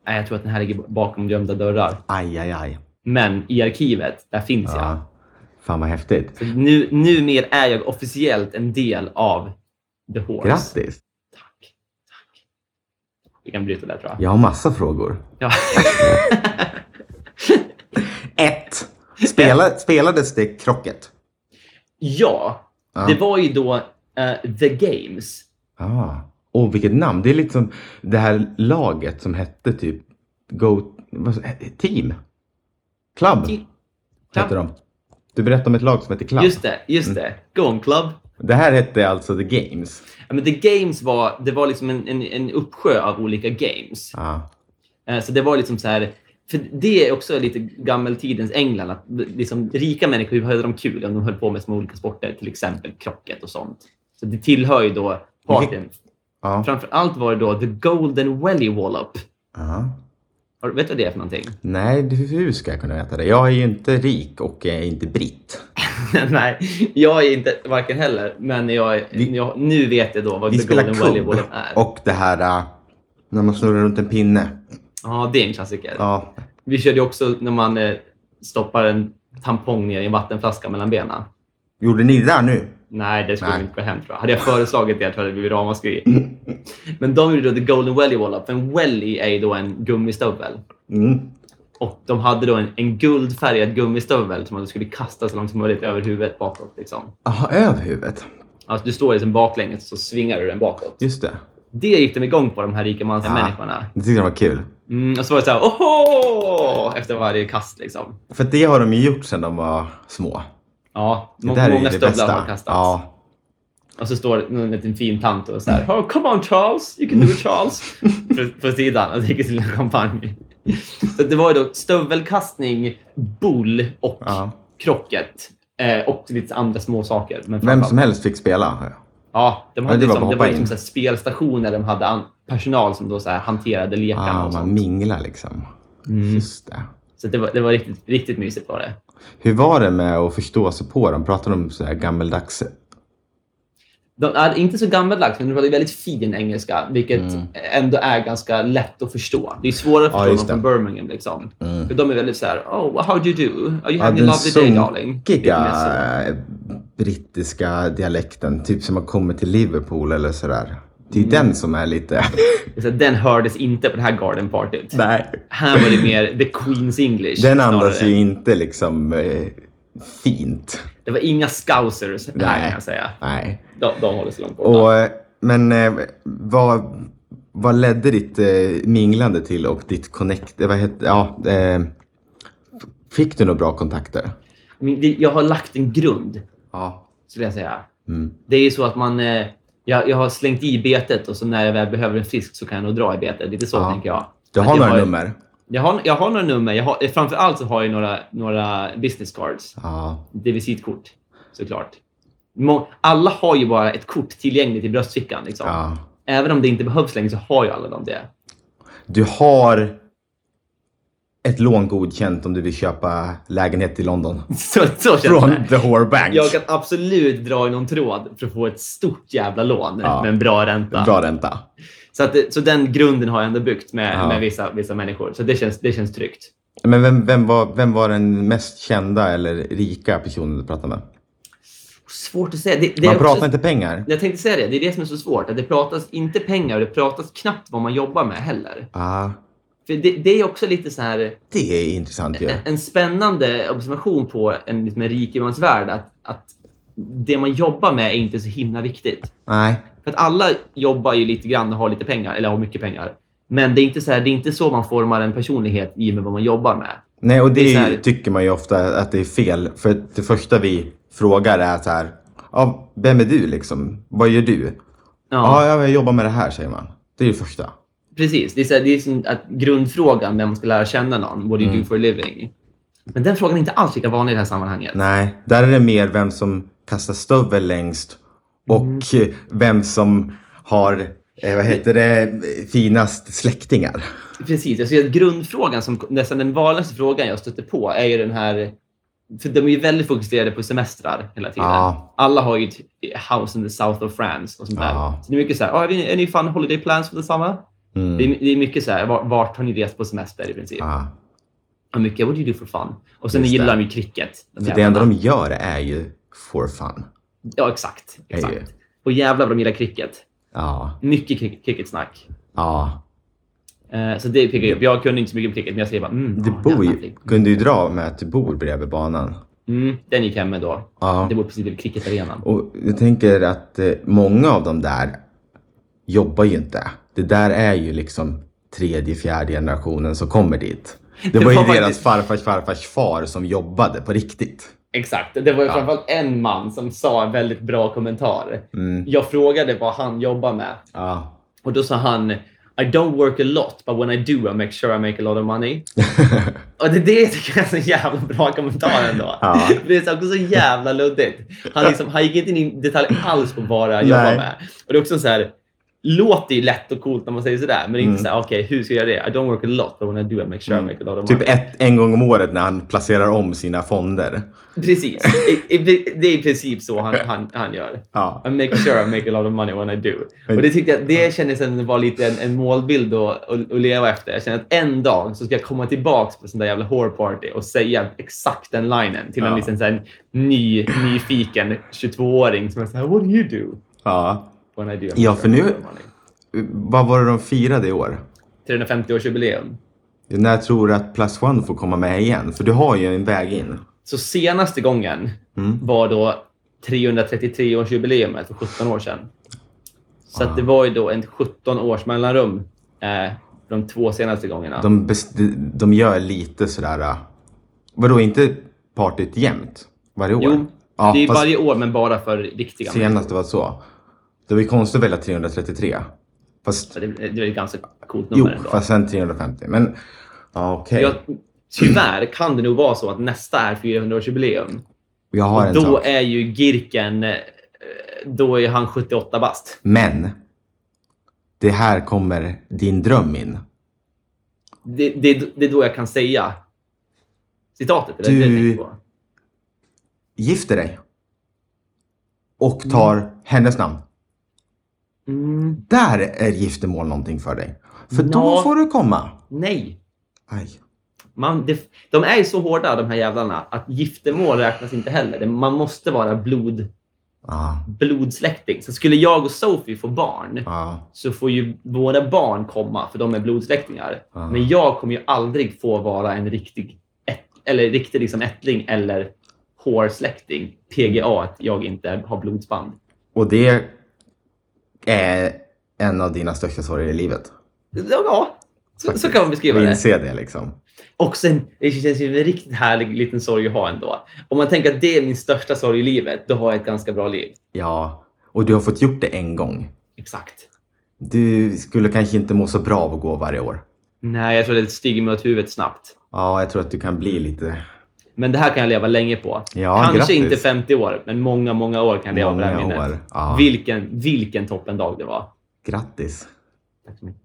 S1: Nej, Jag tror att den här ligger bakom gömda dörrar.
S2: Aj, aj, aj.
S1: Men i arkivet, där finns jag.
S2: Ja. Fan vad häftigt.
S1: Så nu, numera är jag officiellt en del av The Horse.
S2: Grattis.
S1: Tack. Tack. Vi kan bryta där tror jag.
S2: Jag har massa frågor.
S1: Ja.
S2: 1. Spela, spelades det krocket?
S1: ja,
S2: Ja.
S1: det var ju då eh, The Games.
S2: Ah. Och vilket namn. Det är lite som det här laget som hette typ Go... Vad, team? Club
S1: Team-
S2: hette de. Mm. Du berättade om ett lag som hette Club.
S1: Just det, just det. Go on Club.
S2: Det här hette alltså The Games.
S1: Ja, men The Games var, det var liksom en, en, en uppsjö av olika games.
S2: Ah.
S1: Eh, Så det var liksom så här, för det är också lite gammeltidens England, att liksom, rika människor hur hade de kul om de höll på med små olika sporter, till exempel krocket och sånt. Så det tillhör ju då partyn.
S2: Ja.
S1: Framför allt var det då The Golden Welly Wallop.
S2: Ja.
S1: Har- Vet du vad det är för någonting?
S2: Nej, det- hur ska jag kunna veta det? Jag är ju inte rik och jag är inte britt.
S1: Nej, jag är inte varken heller, men jag, är-
S2: Vi-
S1: jag, nu vet jag då vad
S2: Vi
S1: The
S2: spelar
S1: Golden Welly
S2: kubb
S1: Wallop är.
S2: och det här äh, när man snurrar runt en pinne.
S1: Ja, det är en klassiker.
S2: Ja,
S1: Vi körde ju också när man eh, stoppar en tampong ner i en vattenflaska mellan benen.
S2: gjorde ni det där nu?
S1: Nej, det skulle
S2: Nej.
S1: inte gå hem tror jag. Hade jag föreslagit det jag tror jag det hade blivit ramaskri. Men de gjorde då The Golden Welly Wallop. En welly är ju då en gummistövel.
S2: Mm.
S1: Och de hade då en, en guldfärgad gummistövel som man skulle kasta så långt som möjligt över huvudet bakåt. Liksom.
S2: Aha, över huvudet.
S1: Alltså du står liksom baklänges så svingar du den bakåt.
S2: Just det.
S1: Det gick de igång på, de här rika
S2: Ja.
S1: mansmänniskorna.
S2: Det tyckte jag var kul.
S1: Mm, och så var det så här, oho! Efter varje kast liksom.
S2: För det har de ju gjort sedan de var små.
S1: Ja,
S2: Det
S1: må-
S2: där är ju
S1: många
S2: det
S1: stövlar
S2: bästa.
S1: har kastats.
S2: Ja.
S1: Och så står det en liten fin tant och så här, oh, come on Charles, you can do it Charles. på, på sidan och dricker sin lilla champagne. så det var ju då stövelkastning, boll och
S2: Ja.
S1: krocket. Eh, och lite andra små saker. Men
S2: Vem
S1: framför-
S2: som helst fick spela.
S1: Ja, de
S2: Ja,
S1: hade
S2: det var
S1: liksom,
S2: bara
S1: det var
S2: hoppa in.
S1: liksom så här spelstationer där de hade an- personal som då så här hanterade lekarna
S2: Ah,
S1: och
S2: man
S1: sånt.
S2: minglar liksom.
S1: Mm.
S2: Just det.
S1: Så det var, det var riktigt, riktigt mysigt var det.
S2: Hur var det med att förstå sig på dem? Pratade de så här gammeldags?
S1: De är inte så gammaldags, men de hade väldigt fin engelska, vilket ändå är ganska lätt att förstå. Det är svårare att
S2: Mm. Ja,
S1: förstå
S2: just Mm.
S1: någon från Birmingham. Liksom. För de är väldigt så här, oh, how do you do? Are you having
S2: Ja,
S1: a
S2: den
S1: lovely day, darling? Lite
S2: sunkiga
S1: mer så.
S2: eh, brittiska dialekten, typ som man kommer till Liverpool eller sådär. Det är
S1: Mm.
S2: den som är lite...
S1: Det är så här, Den hördes inte på det här garden partyt.
S2: Nej.
S1: Här var det mer the Queen's English.
S2: Den andas
S1: snarare.
S2: ju inte liksom eh, fint.
S1: Det var inga scousers här,
S2: Nej.
S1: kan jag säga.
S2: Nej.
S1: De, de håller sig långt borta.
S2: Och, eh, men eh, vad, vad ledde ditt eh, minglande till och ditt connect... eh, Vad heter, ja, eh, fick du några bra kontakter?
S1: Men det- Jag har lagt en grund,
S2: Ja.
S1: skulle jag säga.
S2: Mm.
S1: Det är ju så att man... eh, Jag, jag har slängt i betet och så när jag väl behöver en fisk så kan jag nog dra i betet. Lite så
S2: Ja.
S1: tänker jag.
S2: Du
S1: Att
S2: har
S1: jag
S2: några nummer?
S1: Jag har, jag har några nummer. Jag har, eh, framför allt så har jag några, några business cards.
S2: Ja.
S1: Det är visitkort, såklart. Må, alla har ju bara ett kort tillgängligt i bröstfickan. Liksom.
S2: ja.
S1: Även om det inte behövs längre så har ju alla dem det.
S2: Du har ett lån godkänt om du vill köpa lägenhet i London.
S1: Så, så känns
S2: Från
S1: det.
S2: The Whore Bank.
S1: Jag kan absolut dra i någon tråd för att få ett stort jävla lån
S2: Ja.
S1: med en bra ränta.
S2: Bra ränta.
S1: Så, att, det- så den grunden har jag ändå byggt med,
S2: Ja.
S1: med vissa, vissa människor. Så det känns, det känns tryggt.
S2: Men vem, vem, var, vem var den mest kända eller rika personen du pratade med?
S1: Svårt att säga. Det, det är
S2: Man
S1: också-
S2: pratar inte pengar.
S1: Jag tänkte säga det. Det är det som är så svårt. Att det pratas inte pengar och det pratas knappt vad man jobbar med heller.
S2: Ah,
S1: För det, det är också lite så här
S2: det är intressant ju.
S1: en, en spännande observation på en, liksom en rikemansvärld att, att det man jobbar med är inte så himla viktigt.
S2: Nej.
S1: För att alla jobbar ju lite grann och har lite pengar, eller har mycket pengar. Men det är inte så, här, det är inte så man formar en personlighet i och med vad man jobbar med.
S2: Nej, och det,
S1: Det är så
S2: är ju-
S1: här-
S2: tycker man ju ofta att det är fel. För att det första vi frågar är så här. Ja, vem är du liksom? Vad gör du?
S1: Ja,
S2: Ja, ah, jag jobbar med det här säger man. Det är det första.
S1: Precis. Det är, så här, det är som att grundfrågan när man ska lära känna någon, what do you
S2: Mm.
S1: do for a living? Men den frågan är inte alls lika vanlig i det här sammanhanget.
S2: Nej, där är det mer vem som kastar stövel längst och
S1: Mm.
S2: eh, vem som har, eh, vad heter det, eh, finast släktingar.
S1: Precis. Jag ser att grundfrågan, som nästan den vanligaste frågan jag stöter på, är ju den här... För de är ju väldigt fokuserade på semestrar hela tiden.
S2: Ja.
S1: Alla har ju ett house in the south of France och sånt där.
S2: Ja.
S1: Så det är mycket så här, "Ah, är ni- är ni fan holiday plans för detsamma?
S2: Mm. Ah.
S1: Det, är, det är mycket så här, "Var- vart har ni rest på semester i princip?
S2: Ja.
S1: I'm mycket what do you do for fun? Och sen
S2: Just
S1: gillar
S2: det.
S1: de ju cricket. de
S2: För det
S1: jävlarna.
S2: enda de gör är ju for fun.
S1: Ja, exakt.
S2: Är ju-
S1: exakt. Och jävlar vad de gillar cricket.
S2: Ja,
S1: Mycket crick- cricketsnack.
S2: ja.
S1: Eh, så det piggar ju upp. Jag kunde inte så mycket om cricket, men jag säger bara mm,
S2: Du
S1: ja,
S2: bor
S1: jävlar,
S2: ju,
S1: flick.
S2: kunde ju dra med att du bor bredvid banan.
S1: Mm, den gick hem med då.
S2: Ja.
S1: Det var precis vid cricketarenan.
S2: Och jag tänker att eh, många av dem där jobbar ju inte. Det där är ju liksom tredje, fjärde generationen som kommer dit. Det
S1: Det
S2: var ju
S1: var
S2: deras
S1: faktiskt-
S2: farfars farfars far som jobbade på riktigt.
S1: Exakt. Det var ju
S2: Ja.
S1: framförallt en man som sa en väldigt bra kommentar.
S2: Mm.
S1: Jag frågade vad han jobbar med
S2: Ja.
S1: och då sa han I don't work a lot, but when I do I make sure I make a lot of money. Och det, det tycker jag är en så jävla bra kommentar ändå.
S2: Ja.
S1: För Det är så- också så jävla luddigt. Han, liksom, han gick inte in i detalj alls på vad jag jobbar
S2: Nej.
S1: med. Och det är också så här, låter ju lätt och coolt när man säger sådär, men det är inte
S2: Mm.
S1: så här, okej, hur ska jag göra det? I don't work a lot, but when I do I make sure I make a lot of money.
S2: Typ ett, en gång om året när han placerar om sina fonder.
S1: Precis. I, i, det är i princip så han, han, han gör.
S2: Ja.
S1: I make sure I make a lot of money when I do. Och det tyckte jag, det kändes som det var lite en, en målbild att, att, att leva efter. Jag kände att en dag så ska jag komma tillbaks på sån där jävla whoreparty och säga exakt den linen till en
S2: Ja.
S1: liten så här, ny, nyfiken 22-åring som är såhär “What do you do?”
S2: ja.
S1: when I do. I make
S2: Ja,
S1: sure
S2: för
S1: I
S2: nu-
S1: make a lot of money."
S2: Vad var det de firade i år?
S1: 350-årsjubileum.
S2: När tror du att Plus One får komma med igen? För du har ju en väg in.
S1: Så senaste gången
S2: Mm.
S1: var då 333-årsjubileumet för 17 år sedan. Så
S2: Ah.
S1: att det var ju då en 17 års mellanrum eh, de två senaste gångerna.
S2: De, bes- de- de gör lite sådär... äh, Vadå, inte partyt jämt? Varje år?
S1: Jo,
S2: ja,
S1: det är
S2: fast
S1: varje år men bara för riktiga människor.
S2: senast det var så. Det var ju konstigt att välja 333. Fast,
S1: Så det, det är ett ganska coolt
S2: jo,
S1: nummer ändå.
S2: fast sen 350. Men ja, okej.
S1: Jag, tyvärr kan det nog vara så att nästa är 400-årsjubileum.
S2: Jag har en
S1: Då
S2: sak.
S1: är ju Girken eh, då är han 78 bast.
S2: Men det här kommer din dröm in.
S1: Det, det, det är då jag kan säga citatet. Eller
S2: Du-
S1: det jag tänker på.
S2: Gifter dig. Och tar hennes namn.
S1: Mm,
S2: Där är giftermål någonting för dig. För då
S1: Nå.
S2: får du komma.
S1: nej.
S2: Aj.
S1: Man, det, de är ju så hårda de här jävlarna att giftermål räknas inte heller. Det- Man måste vara blod,
S2: Ja,
S1: blodsläkting. Så skulle jag och Sophie få barn
S2: ja,
S1: så får ju våra barn komma för de är blodsläktingar.
S2: Ja.
S1: Men jag kommer ju aldrig få vara en riktig, ett, eller riktig liksom ättling eller hårsläkting. PGA, att jag inte har blodsband.
S2: Och det är en av dina största sorger i livet.
S1: Ja, så, så kan man beskriva
S2: Jag
S1: det.
S2: inser det liksom.
S1: Och sen, det känns ju en riktigt härlig liten sorg att ha ändå. Om man tänker att det är min största sorg i livet, då har jag ett ganska bra liv.
S2: Ja, och du har fått gjort det en gång.
S1: Exakt.
S2: Du skulle kanske inte må så bra av att gå varje år.
S1: Nej, jag tror det stiger mig åt huvudet snabbt.
S2: Ja, jag tror att du kan bli lite...
S1: Men det här kan jag leva länge på.
S2: Ja,
S1: Kanske
S2: grattis.
S1: inte 50 år, men många, många år kan jag leva på det här
S2: Många
S1: minnet.
S2: år, ja.
S1: Vilken, vilken toppen dag det var.
S2: Grattis!
S1: Tack så mycket.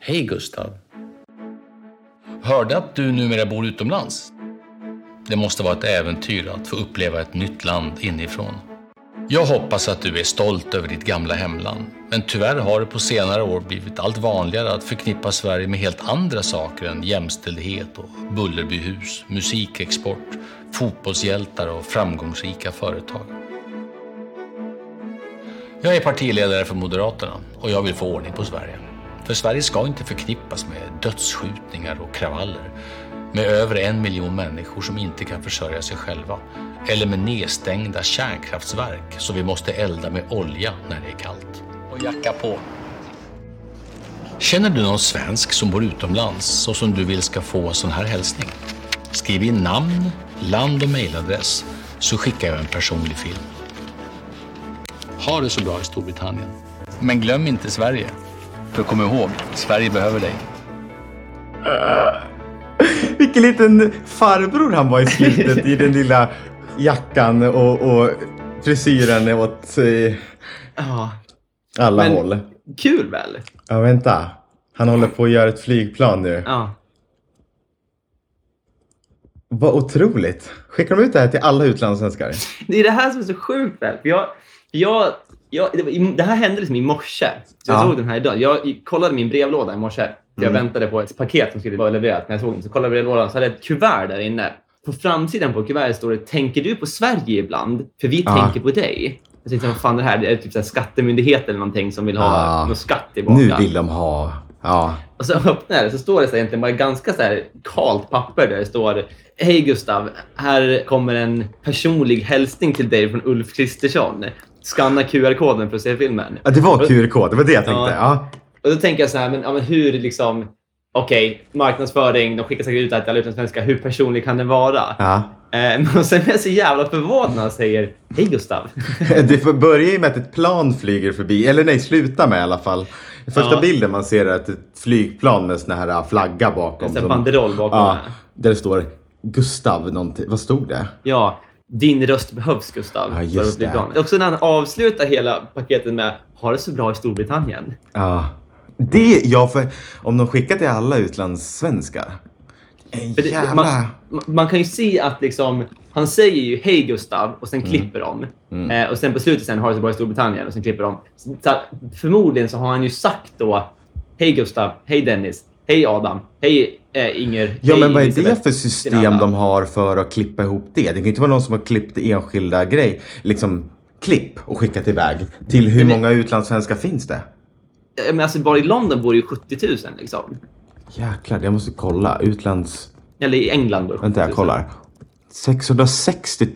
S6: Hej Gustav. Hörde att du numera bor utomlands? Det måste vara ett äventyr att få uppleva ett nytt land inifrån. Jag hoppas att du är stolt över ditt gamla hemland, men tyvärr har det på senare år blivit allt vanligare att förknippa Sverige med helt andra saker än jämställdhet och Bullerbyhus, musikexport, fotbollshjältar och framgångsrika företag. Jag är partiledare för Moderaterna och jag vill få ordning på Sverige. För Sverige ska inte förknippas med dödsskjutningar och kravaller, med över en miljon människor som inte kan försörja sig själva, eller med nedstängda kärnkraftverk så vi måste elda med olja när det är kallt. Och jacka på. Känner du någon svensk som bor utomlands och som du vill ska få en sån här hälsning? Skriv in namn, land och mejladress så skickar jag en personlig film. Ha det så bra i Storbritannien. Men glöm inte Sverige. För kom ihåg, Sverige behöver dig.
S2: Vilken liten farbror han var i slutet i den lilla jackan och, och frisyren åt eh,
S1: Ja,
S2: alla
S1: Men-
S2: håll.
S1: kul väl?
S2: Ja, vänta. Han håller på att göra ett flygplan nu.
S1: Ja.
S2: Vad otroligt. Skickar de ut det här till alla utlandssvenskar?
S1: Det är det här som är så sjukt väl. För jag, jag, jag, det, var, i- det här hände liksom i morse. Så jag
S2: Ja. Mm.
S1: såg den här idag. Jag i- kollade min brevlåda i morse. Så jag väntade på ett paket som skulle vara levererat. När jag såg den så kollade jag brevlådan så hade jag ett kuvert där inne. På framsidan på kuvertet står det “Tänker du på Sverige ibland? För vi
S2: Ah.
S1: tänker på dig”. Jag tänkte, vad fan är det här? Det är typ så här skattemyndigheten eller någonting som vill ha
S2: Ah.
S1: någon skatt tillbaka.
S2: Nu vill de ha... Ja.
S1: Och så öppnar jag det så står det så här, egentligen bara ganska så här kalt papper där det står Hej Gustav, här kommer en personlig hälsning till dig från Ulf Kristersson. Skanna QR-koden för att se filmen.
S2: Ja, Det var QR-kod, det var det jag tänkte. Ja.
S1: Och då tänker jag så här, men, ja, men hur liksom... Okej, marknadsföring, de skickar säkert ut det här till alla utlandssvenskar. Hur personlig kan den vara?
S2: Ja.
S1: Eh, men sen är jag så jävla förvånad när han säger Hej Gustav.
S2: Det får- börjar ju med att ett plan flyger förbi, eller nej, sluta med i alla fall. Första
S1: Ja.
S2: bilden man ser är att ett flygplan med sån här äh, flagga bakom.
S1: En sån här
S2: som-
S1: banderoll bakom.
S2: Ja,
S1: Ja.
S2: där det står Gustav någonting. Vad stod det?
S1: ja, din röst behövs Gustav.
S2: Ja, just
S1: står det på
S2: det.
S1: flygplanet. Också när han avslutar hela paketet med Ha det så bra i Storbritannien.
S2: Ja. Det, ja, för om de skickar till alla utlandssvenskar. En
S1: För det,
S2: jävla...
S1: man, man kan ju se att liksom, han säger ju hej Gustav och sen
S2: Mm.
S1: klipper de. Eh, och sen på slutet sen har det så bra i Storbritannien och sen klipper de. Så, så att förmodligen så har han ju sagt då hej Gustav, hej Dennis, hej Adam, hej eh, Inger,
S2: Ja,
S1: hej
S2: men vad är
S1: Elisabeth."
S2: det för system
S1: Sinanda.
S2: de har för att klippa ihop det? Det kan ju inte vara någon som har klippt enskilda grej, liksom klipp och skickat iväg. Till hur
S1: Men det-
S2: många utlandssvenskar finns det?
S1: Eh, Men alltså bara i London bor det ju 70 000 liksom.
S2: Jäklar, jag måste kolla. Utlands...
S1: Eller i England bor det 70 000.
S2: Vänta, jag kollar. 660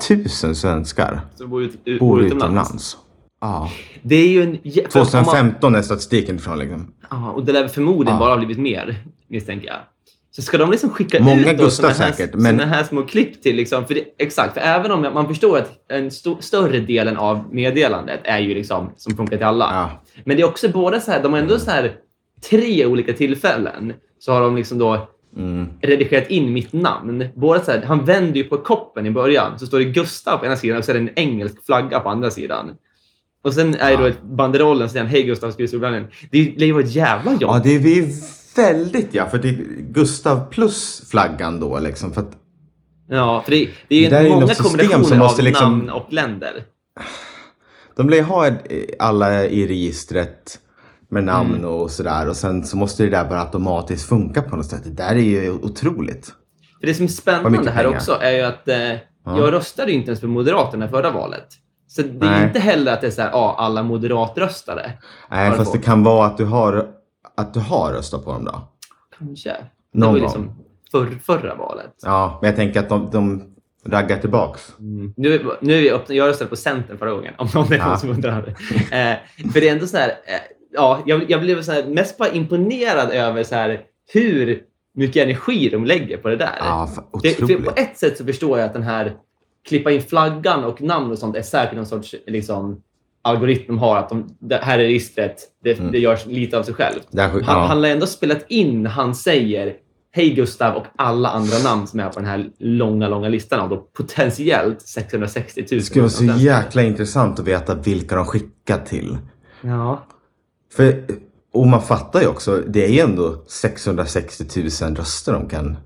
S2: 000 svenskar
S1: Så bor, ut, ut,
S2: bor utomlands. Ja.
S1: Det är ju en... jä- för att om man-
S2: 2015 är statistiken ifrån. Liksom.
S1: Ja, och det lär förmodligen
S2: Ja.
S1: bara ha blivit mer, misstänker jag. Så ska de liksom skicka
S2: Många
S1: ut då
S2: Gustav
S1: såna här,
S2: säkert, men-
S1: men... här små klipp till... Liksom, för det, exakt, för även om man förstår att en sto- större delen av meddelandet är ju liksom som funkar till alla.
S2: Ja.
S1: Men det är också båda så här, de har ändå så här tre olika tillfällen så har de liksom då
S2: Mm.
S1: redigerat in mitt namn. Båda så här, han vänder ju på koppen i början, så står det Gustav på ena sidan och så är det en engelsk flagga på andra sidan. Och sen är det då
S2: Ja.
S1: ett banderollen som säger Hej Gustav, skriv Storbritannien. Det lär ju vara ett jävla jobb.
S2: Ja, det är vi väldigt ja. För det är Gustav plus flaggan då liksom. För att
S1: Ja, för det, det
S2: Det där är
S1: är
S2: ju
S1: ju många
S2: något system
S1: kombinationer
S2: som måste
S1: av
S2: liksom-
S1: namn och länder.
S2: de lär ju ha eh, alla i registret med namn
S1: Mm.
S2: och sådär. Och sen så måste det där bara automatiskt funka på något sätt. Det där är ju otroligt.
S1: För det som är
S2: Vad
S1: spännande
S2: mycket
S1: här
S2: pengar.
S1: också är ju att eh, jag röstade ju inte ens på Moderaterna i förra valet. Så det är
S2: Nej.
S1: inte heller att det är så här, ja, alla moderatröstare.
S2: Nej,
S1: Varför?
S2: Äh, fast det kan vara att du har, att du har röstat på dem då.
S1: Kanske.
S2: Någon
S1: det var ju
S2: gång.
S1: liksom för, förra valet.
S2: Ja, men jag tänker att de, de raggar tillbaks.
S1: Mm. Nu, nu är vi öppna. Jag röstade på Centern förra gången, om någon är
S2: Ja.
S1: någon som undrar. Eh, för det är ändå så här, eh, ja, jag, jag blev så här, mest bara imponerad över så här, hur mycket energi de lägger på det där.
S2: Ja, fan,
S1: Eh, Det, för
S2: otroligt.
S1: på ett sätt så förstår jag att den här klippa in flaggan och namn och sånt är säkert någon sorts liksom, algoritm de har. Att de, det här är registret, det, det görs lite av sig självt.
S2: Där sk-
S1: Han,
S2: Mm. ja.
S1: han har ändå spelat in när han säger Hej Gustav och alla andra namn som är på den här långa, långa listan av då potentiellt 660 000.
S2: Det skulle vara så jäkla intressant att veta vilka de skickar till.
S1: Ja.
S2: För, och man fattar ju också, det är ju ändå 660 000 röster de kan...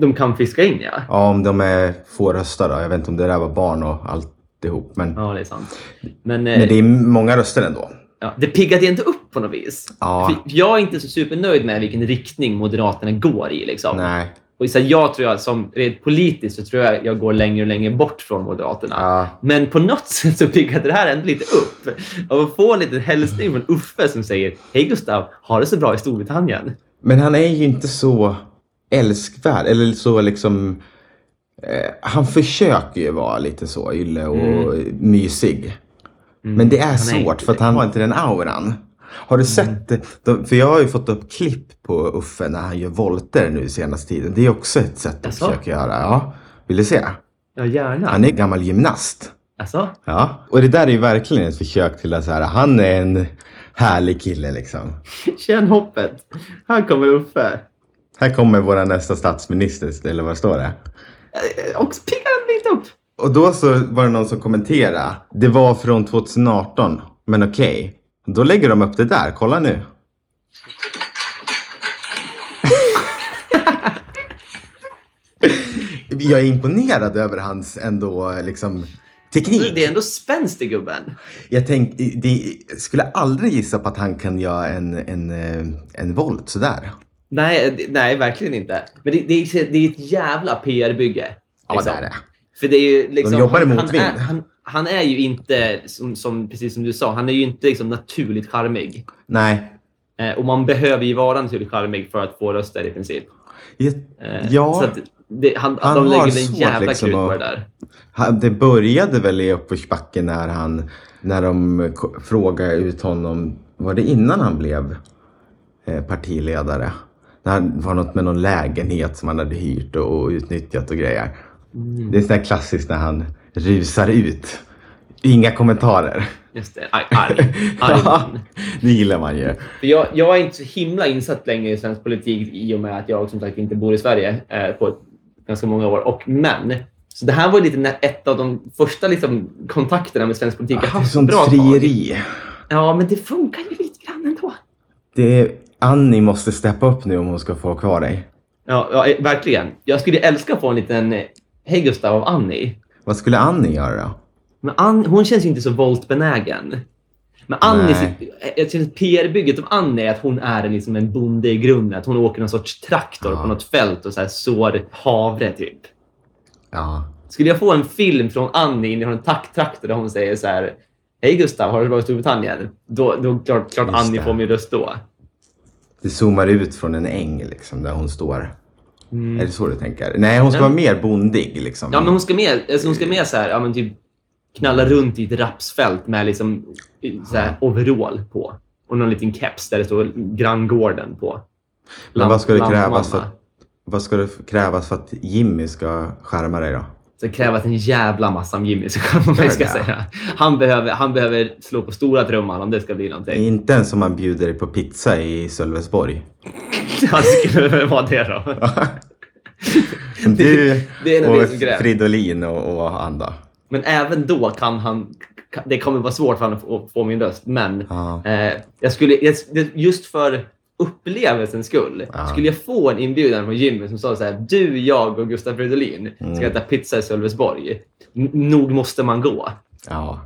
S1: De kan fiska in, ja.
S2: Ja, om de är få röster då. Jag vet inte om det där var barn och alltihop. Men,
S1: Ja, det är sant. Men, eh,
S2: men det är många röster ändå.
S1: Ja, det piggade inte upp på något vis.
S2: Ja.
S1: För Jag är inte så supernöjd med vilken riktning Moderaterna går i. Liksom.
S2: Nej.
S1: Och så här, jag tror jag, som rent politiskt så tror jag jag går längre och längre bort från Moderaterna.
S2: Ja.
S1: Men på något sätt så piggade det här ändå lite upp. Av att få en liten hälsning från Uffe som säger Hej Gustav, har det så bra i Storbritannien?
S2: Men han är ju inte så älskvärd. Eller så liksom... Eh, han försöker ju vara lite så ylle och mysig. Men det är
S1: Mm. han är
S2: svårt
S1: inte Mm.
S2: för att han har inte den auran. Har du sett? de- För jag har ju fått upp klipp på Uffe när han gör volter nu senaste tiden. Det är också ett sätt att
S1: Jaså?
S2: försöka göra. Ja. Vill du se?
S1: Ja, gärna.
S2: Han är gammal gymnast.
S1: Alltså,
S2: Ja. Och det där är ju verkligen ett försök till att så här, han är en härlig kille liksom.
S1: känn hoppet. Här kommer Uffe.
S2: Här kommer vår nästa statsminister, eller vad står det?
S1: Eh, Och så piggar han lite upp.
S2: Och då så var det någon som kommenterade. Det var från 2018, men okej. Då lägger de upp det där, kolla nu. Jag är imponerad över hans ändå liksom Teknik.
S1: Det är ändå spänst i gubben.
S2: Jag tänk, det, skulle aldrig gissa på att han kan göra en, en, eh, en volt sådär.
S1: Nej, eh, det- nej verkligen inte. Men det, det, är, det är ett jävla PR-bygge.
S2: Ja,
S1: liksom.
S2: det är det.
S1: För det är ju liksom,
S2: De jobbar i
S1: han, han,
S2: motvind.
S1: är, han, han är ju inte, som, som, precis som du sa, han är ju inte liksom naturligt charmig.
S2: Nej.
S1: Eh, och man behöver ju vara naturligt charmig för att få röster i princip.
S2: Jag,
S1: Eh,
S2: ja,
S1: Så att det, han,
S2: Han
S1: de
S2: har
S1: lägger en
S2: svårt
S1: jävla
S2: liksom
S1: krut på det
S2: att-
S1: där.
S2: han, det började väl i uppförsbacken när han, när de k- frågade ut honom, var det innan han blev eh, partiledare? När han- det var något med någon lägenhet som han hade hyrt och, och utnyttjat och grejer.
S1: Mm.
S2: Det är sådär klassiskt när han rusar ut. Inga kommentarer.
S1: Just det, arg, arg, arg
S2: Ja,
S1: man.
S2: det gillar man ju.
S1: För jag, jag är inte så himla insatt längre i svensk politik i och med att jag som sagt inte bor i Sverige eh, på ett, ganska många år. Och men, så det här var lite när- ett av de första liksom, kontakterna med svensk politik jag
S2: Det är
S1: haft.
S2: sånt
S1: Bra tag.
S2: frieri.
S1: Ja, men det funkar ju lite grann ändå.
S2: Det är, Annie måste steppa upp nu om hon ska få ha kvar dig.
S1: Ja, ja, eh, verkligen. Jag skulle älska att få en liten eh, Hej Gustav av Annie.
S2: Vad skulle Annie göra då?
S1: Men Ann, hon känns ju inte så voltbenägen. Men Annie,
S2: Nej.
S1: jag känner att PR-bygget av Annie är att hon är liksom en bonde i grunden. Att hon åker någon sorts traktor
S2: Ja.
S1: på något fält och så här sår havre typ.
S2: Ja.
S1: Skulle jag få en film från Annie inifrån en tak- traktor där hon säger så här Hej Gustav, har du varit i Storbritannien? Då, då klart, klart
S2: Just
S1: Annie
S2: det.
S1: får min röst då.
S2: Det zoomar ut från en äng liksom där hon står. Är det så du tänker? Nej, hon ska
S1: Nej.
S2: vara mer bondig liksom.
S1: Mm. Ja, men hon ska med, alltså hon ska med så här, ja men typ knalla runt i ett rapsfält med liksom i- så här overall på. Och någon liten keps där det står granngården på.
S2: Men vad ska det
S1: Lamp-
S2: krävas för
S1: lampmamma.
S2: att, vad ska det f- krävas för att Jimmy ska skärma dig då?
S1: Så det krävs en jävla massa om Jimmy, så kan man
S2: Gör
S1: väl ska
S2: det?
S1: säga. Han behöver, han behöver slå på stora trumman om det ska bli någonting.
S2: Inte ens om man bjuder dig på pizza i Sölvesborg. Mm.
S1: Han skulle väl vara det då.
S2: Du
S1: det är nog det
S2: och
S1: som krävs.
S2: Fridolin och, och han då?
S1: Men även då kan han... kan- Det kommer vara svårt för honom att få- få min röst, men
S2: Ja.
S1: eh, jag skulle, jag- det- just för upplevelsens skull,
S2: Ja.
S1: skulle jag få en inbjudan från Jimmy som sa så här, du, jag och Gustav Fridolin
S2: Mm.
S1: ska äta pizza i Sölvesborg. N- nog måste man gå.
S2: ja.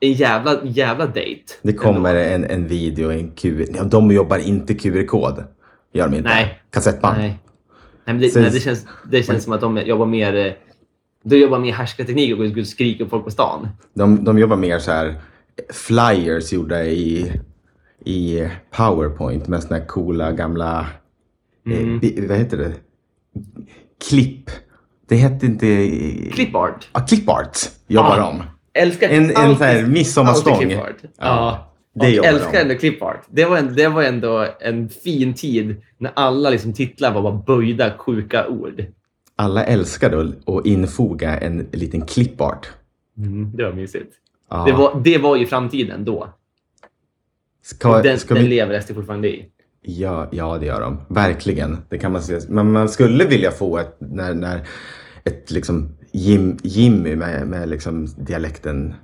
S1: En jävla, jävla dejt.
S2: Det kommer en, en video, en Q... Ja, de jobbar inte QR-kod. Gör de inte.
S1: Nej.
S2: Kassettband.
S1: Nej. Nej, men det,
S2: Sen-
S1: nej, det känns, det känns som att de jobbar mer, eh, de jobbar mer härskarteknik och går ut och skriker på folk på stan.
S2: De, de jobbar mer så här flyers gjorda i, i Powerpoint med såna här coola gamla...
S1: Mm.
S2: Eh, bi- vad heter det? Klipp. Det hette inte...
S1: Clipart.
S2: Ja, clipart jobbar
S1: Ja.
S2: de.
S1: Älskar
S2: En, en
S1: alltid-
S2: sån här midsommarstång.
S1: alltid clipart. Ja.
S2: det
S1: och
S2: jobbar
S1: älskar
S2: de.
S1: ändå clipart. Det var, en, det var ändå en fin tid när alla liksom titlar var bara böjda, sjuka ord.
S2: Alla älskar då att infoga en liten clipart.
S1: Mm, Det var mysigt.
S2: Ja.
S1: Det, var, det var ju framtiden då.
S2: ska,
S1: den
S2: ska
S1: den
S2: vi...
S1: lever SD fortfarande i.
S2: Ja, ja, det gör de. Verkligen. Det kan man säga. Men man skulle vilja få ett, när, när ett liksom Jim, Jimmy med, med liksom dialekten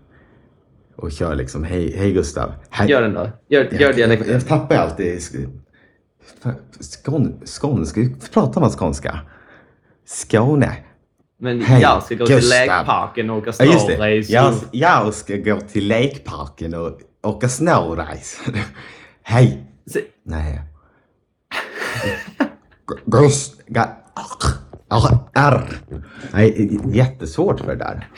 S2: och kör liksom hej, hej Gustav. Hej.
S1: Gör den då. Gör, gör
S2: Jag- Jag,
S1: dialekten.
S2: jag tappar alltid sk- skån, skånska. Hur pratar man skånska? Skåne.
S1: Men
S2: Hej,
S1: jag ska gå till
S2: Gustav.
S1: lekparken och åka
S2: Ja, just det.
S1: snowrace.
S2: Jag, jag ska gå till lekparken och åka snowrace. hej.
S1: Se-
S2: Nej. Gust... R. Nej, jättesvårt för det där.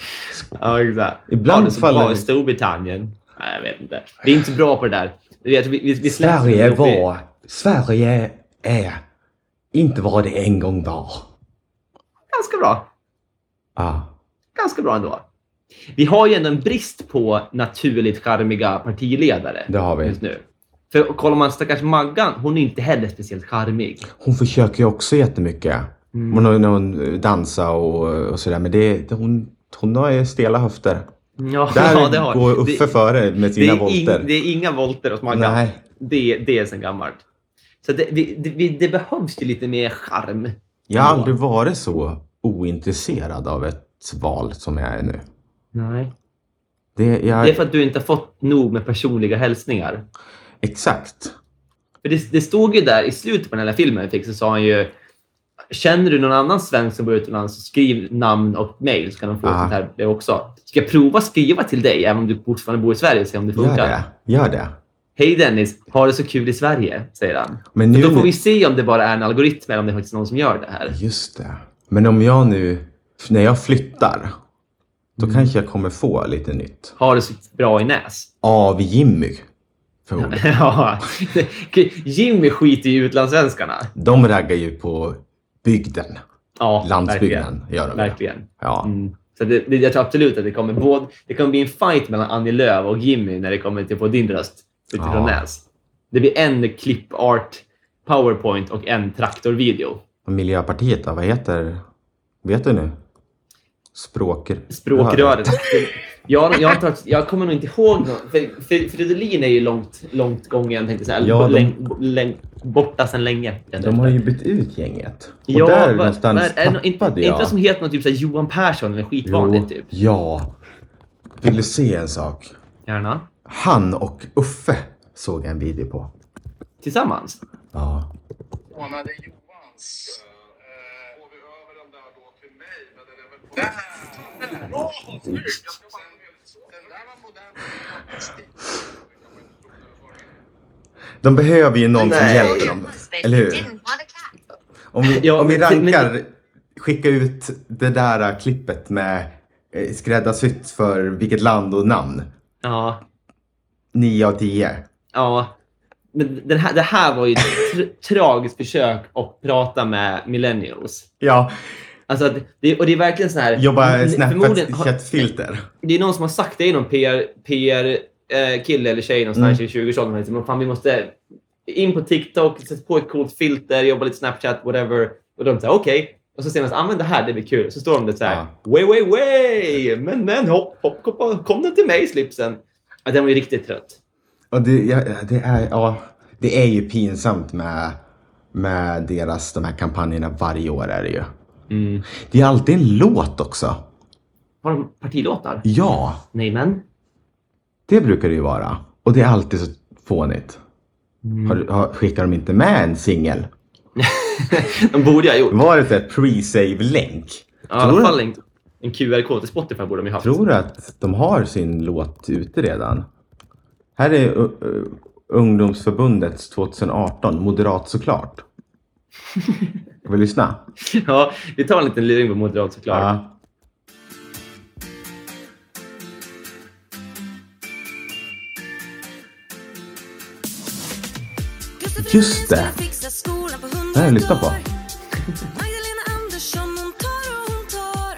S1: Ja, exakt.
S2: Ibland
S1: var det så
S2: faller-
S1: bra i Storbritannien. Nej, jag vet inte. Vi är inte så bra på det där. Vi, vi, vi, vi släpper
S2: Sverige
S1: det. Vi-
S2: var... Sverige är inte vad det en gång var.
S1: Ganska bra.
S2: Ja.
S1: Ganska bra ändå. Vi har ju ändå en brist på naturligt charmiga partiledare
S2: Det har vi.
S1: just nu. För kollar man stackars Maggan, hon är inte heller speciellt charmig.
S2: Hon försöker ju också jättemycket. Hon har när hon dansar och, och sådär. Men det, det- hon, hon har ju stela höfter.
S1: Mm. Ja,
S2: Där
S1: ja, det har
S2: går Uffe
S1: det,
S2: före med
S1: det,
S2: sina
S1: är
S2: volter.
S1: ing, det är inga volter hos Maggan.
S2: Nej.
S1: Det, det är sen gammalt. Så det, vi, det, vi, det behövs ju lite mer charm.
S2: Jag har aldrig varit så ointresserad av ett val som jag är nu.
S1: Nej.
S2: Det, jag,
S1: Det är för att du inte har fått nog med personliga hälsningar.
S2: Exakt.
S1: För det, det stod ju där i slutet på den här filmen vi fick så sa han ju Känner du någon annan svensk som bor utomlands, så skriv namn och mail så kan de få
S2: Ah.
S1: sånt här brev också. Ska jag prova skriva till dig även om du fortfarande bor i Sverige och se om det
S2: Gör
S1: funkar?
S2: det. Gör det.
S1: Hej Dennis, har det så kul i Sverige, säger han.
S2: Men
S1: Då
S2: nu...
S1: får vi se om det bara är en algoritm eller om det är faktiskt någon som gör det här.
S2: Just det. Men om jag nu... När jag flyttar, då
S1: Mm.
S2: kanske jag kommer få lite nytt.
S1: Har det så bra i näs.
S2: Av Jimmy. Förmodligen.
S1: Ja. Jimmy skiter ju i utlandssvenskarna.
S2: De raggar ju på bygden.
S1: Ja, verkligen.
S2: Landsbygden gör de ju.
S1: verkligen.
S2: Ja.
S1: Mm. Så det, det, jag tror absolut att det kommer, både, det kommer bli en fight mellan Annie Lööf och Jimmy när det kommer till på din röst utifrån
S2: Ja.
S1: näs. Det blir en klippart powerpoint och en traktorvideo.
S2: Och Miljöpartiet då, vad heter... Vet du nu? Språk...
S1: Språkröret. Jag, jag, tar, jag kommer nog inte ihåg någon, för, för Fridolin är ju långt, långt gången, tänkte jag säga.
S2: Ja, de-
S1: Läng, läng, borta sedan länge.
S2: De har ju bytt ut gänget. Och
S1: Ja,
S2: där
S1: vad-
S2: någonstans
S1: vad är det- är,
S2: tappade
S1: inte,
S2: jag.
S1: Inte det som heter något typ såhär Johan Persson eller skitvanligt typ?
S2: Ja. Vill du se en sak?
S1: Gärna.
S2: Han och Uffe såg jag en video på.
S1: Tillsammans.
S2: Ja.
S7: lånade Johans. Eh, Går vi över den där då till mig? Men den är väl på... Där! Bra! Snyggt! Jag ska bara- Den där var modern.
S2: De behöver ju någon som
S1: Nej.
S2: hjälper dem. Eller hur? Om vi,
S1: Ja,
S2: om vi
S1: men-
S2: rankar, skicka ut det där eh, klippet med eh, skräddarsytt för vilket land och namn.
S1: Ja.
S2: 9 av 10.
S1: Ja. Men den här, det här var ju ett tr- tragiskt försök att prata med millennials.
S2: Ja,
S1: Alltså, att det, och det är verkligen så här...
S2: jobba
S1: n- förmodligen har-
S2: Snapchat-filter.
S1: det är någon som har sagt det, i någon PR, PR eh, kille eller tjej någonstans i 20-årsåldern. Liksom, "Men fan, vi måste in på TikTok, sätta på ett coolt filter, jobba lite Snapchat, whatever. Och de säger okej. Och så säger man så här, använd det här, det blir kul. Så står de där så här, way, way, way! Men, men, hopp, hopp, hopp, kom den till mig, slipsen? Ja, den var ju riktigt trött.
S2: Och det, ja, det, är, ja, det är ju pinsamt med, med deras de här kampanjerna varje år är det ju.
S1: Mm.
S2: Det är alltid en låt också.
S1: Har de partilåtar?
S2: Ja,
S1: Nej, men.
S2: det brukar det ju vara. Och det är alltid så fånigt. Har, du- har, skickar de inte med en singel?
S1: de borde jag ha gjort.
S2: Var det så här pre-save-länk?
S1: Ja, I alla
S2: Mm. Tror du-
S1: fall en, en QR-kod till Spotify borde de ju haft.
S2: Tror du att de har sin låt ute redan? Här är uh, uh, ungdomsförbundets 2018, Moderat såklart. Vill du lyssna?
S1: Ja, vi tar en liten luring på moderat såklart.
S2: Ja. Just det. Det här har jag lyssnat på.
S8: Magdalena Andersson hon tar och hon tar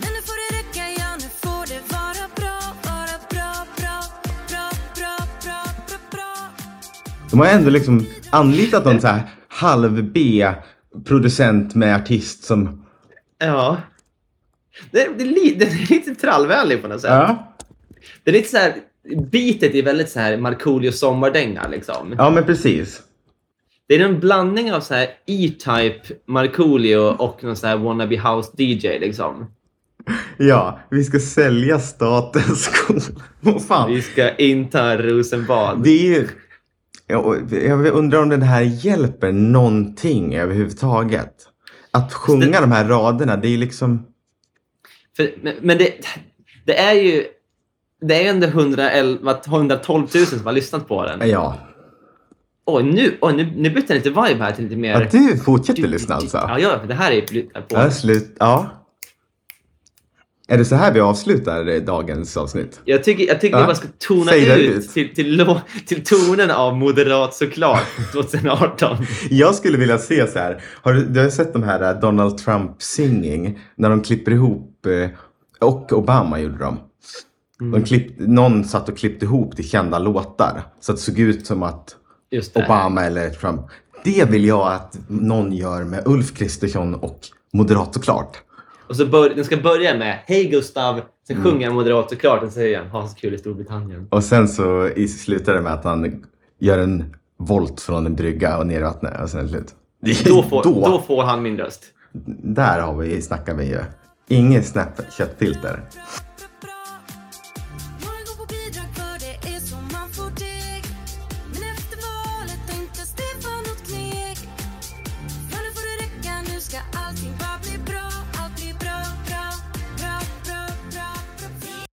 S8: Men nu får det räcka, ja nu får det vara bra, vara bra, bra, bra, bra, bra, bra, bra
S2: De har ändå liksom anlitat någon så här halv B producent med artist som...
S1: Ja. Det, det, är li, det är lite trallvänlig på något sätt.
S2: Ja,
S1: Det är lite så här, bitet är väldigt så här Markoolio sommardänga liksom.
S2: ja men precis.
S1: Det är en blandning av så här E-Type, Markoolio och någon så här wannabe house DJ liksom.
S2: Ja, vi ska sälja statens skola. Vad fan.
S1: Vi ska inta Rosenbad.
S2: Det är ju... Jag jag undrar om den här hjälper någonting överhuvudtaget. Att sjunga de här raderna, det är ju liksom...
S1: För, men men det, det är ju det är ju ändå 111, 112 000 som har lyssnat på den.
S2: Ja.
S1: Oj, nu, oj, nu, nu bytte den lite vibe här till lite mer...
S2: ja du fortsätter lyssna alltså?
S1: Ja, ja, för det här är ju... på.
S2: Ja, slut. Ja. Är det så här vi avslutar eh, dagens avsnitt?
S1: Jag tycker, jag tycker
S2: Ja.
S1: vi bara ska tona
S2: Säg det
S1: ut,
S2: ut.
S1: Till, till, lo- till tonen av Moderat såklart 2018.
S2: Jag skulle vilja se så här. Har du, du har sett de här eh, Donald Trump singing när de klipper ihop eh, och Obama gjorde dem. De klipp, någon satt och klippte ihop till kända låtar så att det såg ut som att
S1: Just det.
S2: Äh. Obama eller Trump. Det vill jag att någon gör med Ulf Kristersson och Moderat såklart.
S1: Och så bör, den ska börja med Hej Gustav, sen
S2: Mm.
S1: sjunger han Moderat såklart och säger han Ha så kul i Storbritannien.
S2: Och sen så i- slutar det med att han gör en volt från en brygga och ner i vattnet och sen är det slut.
S1: Då får, då. får han min röst.
S2: Där har vi, snackar vi ju. Inget Snapchat-filter.
S8: bra,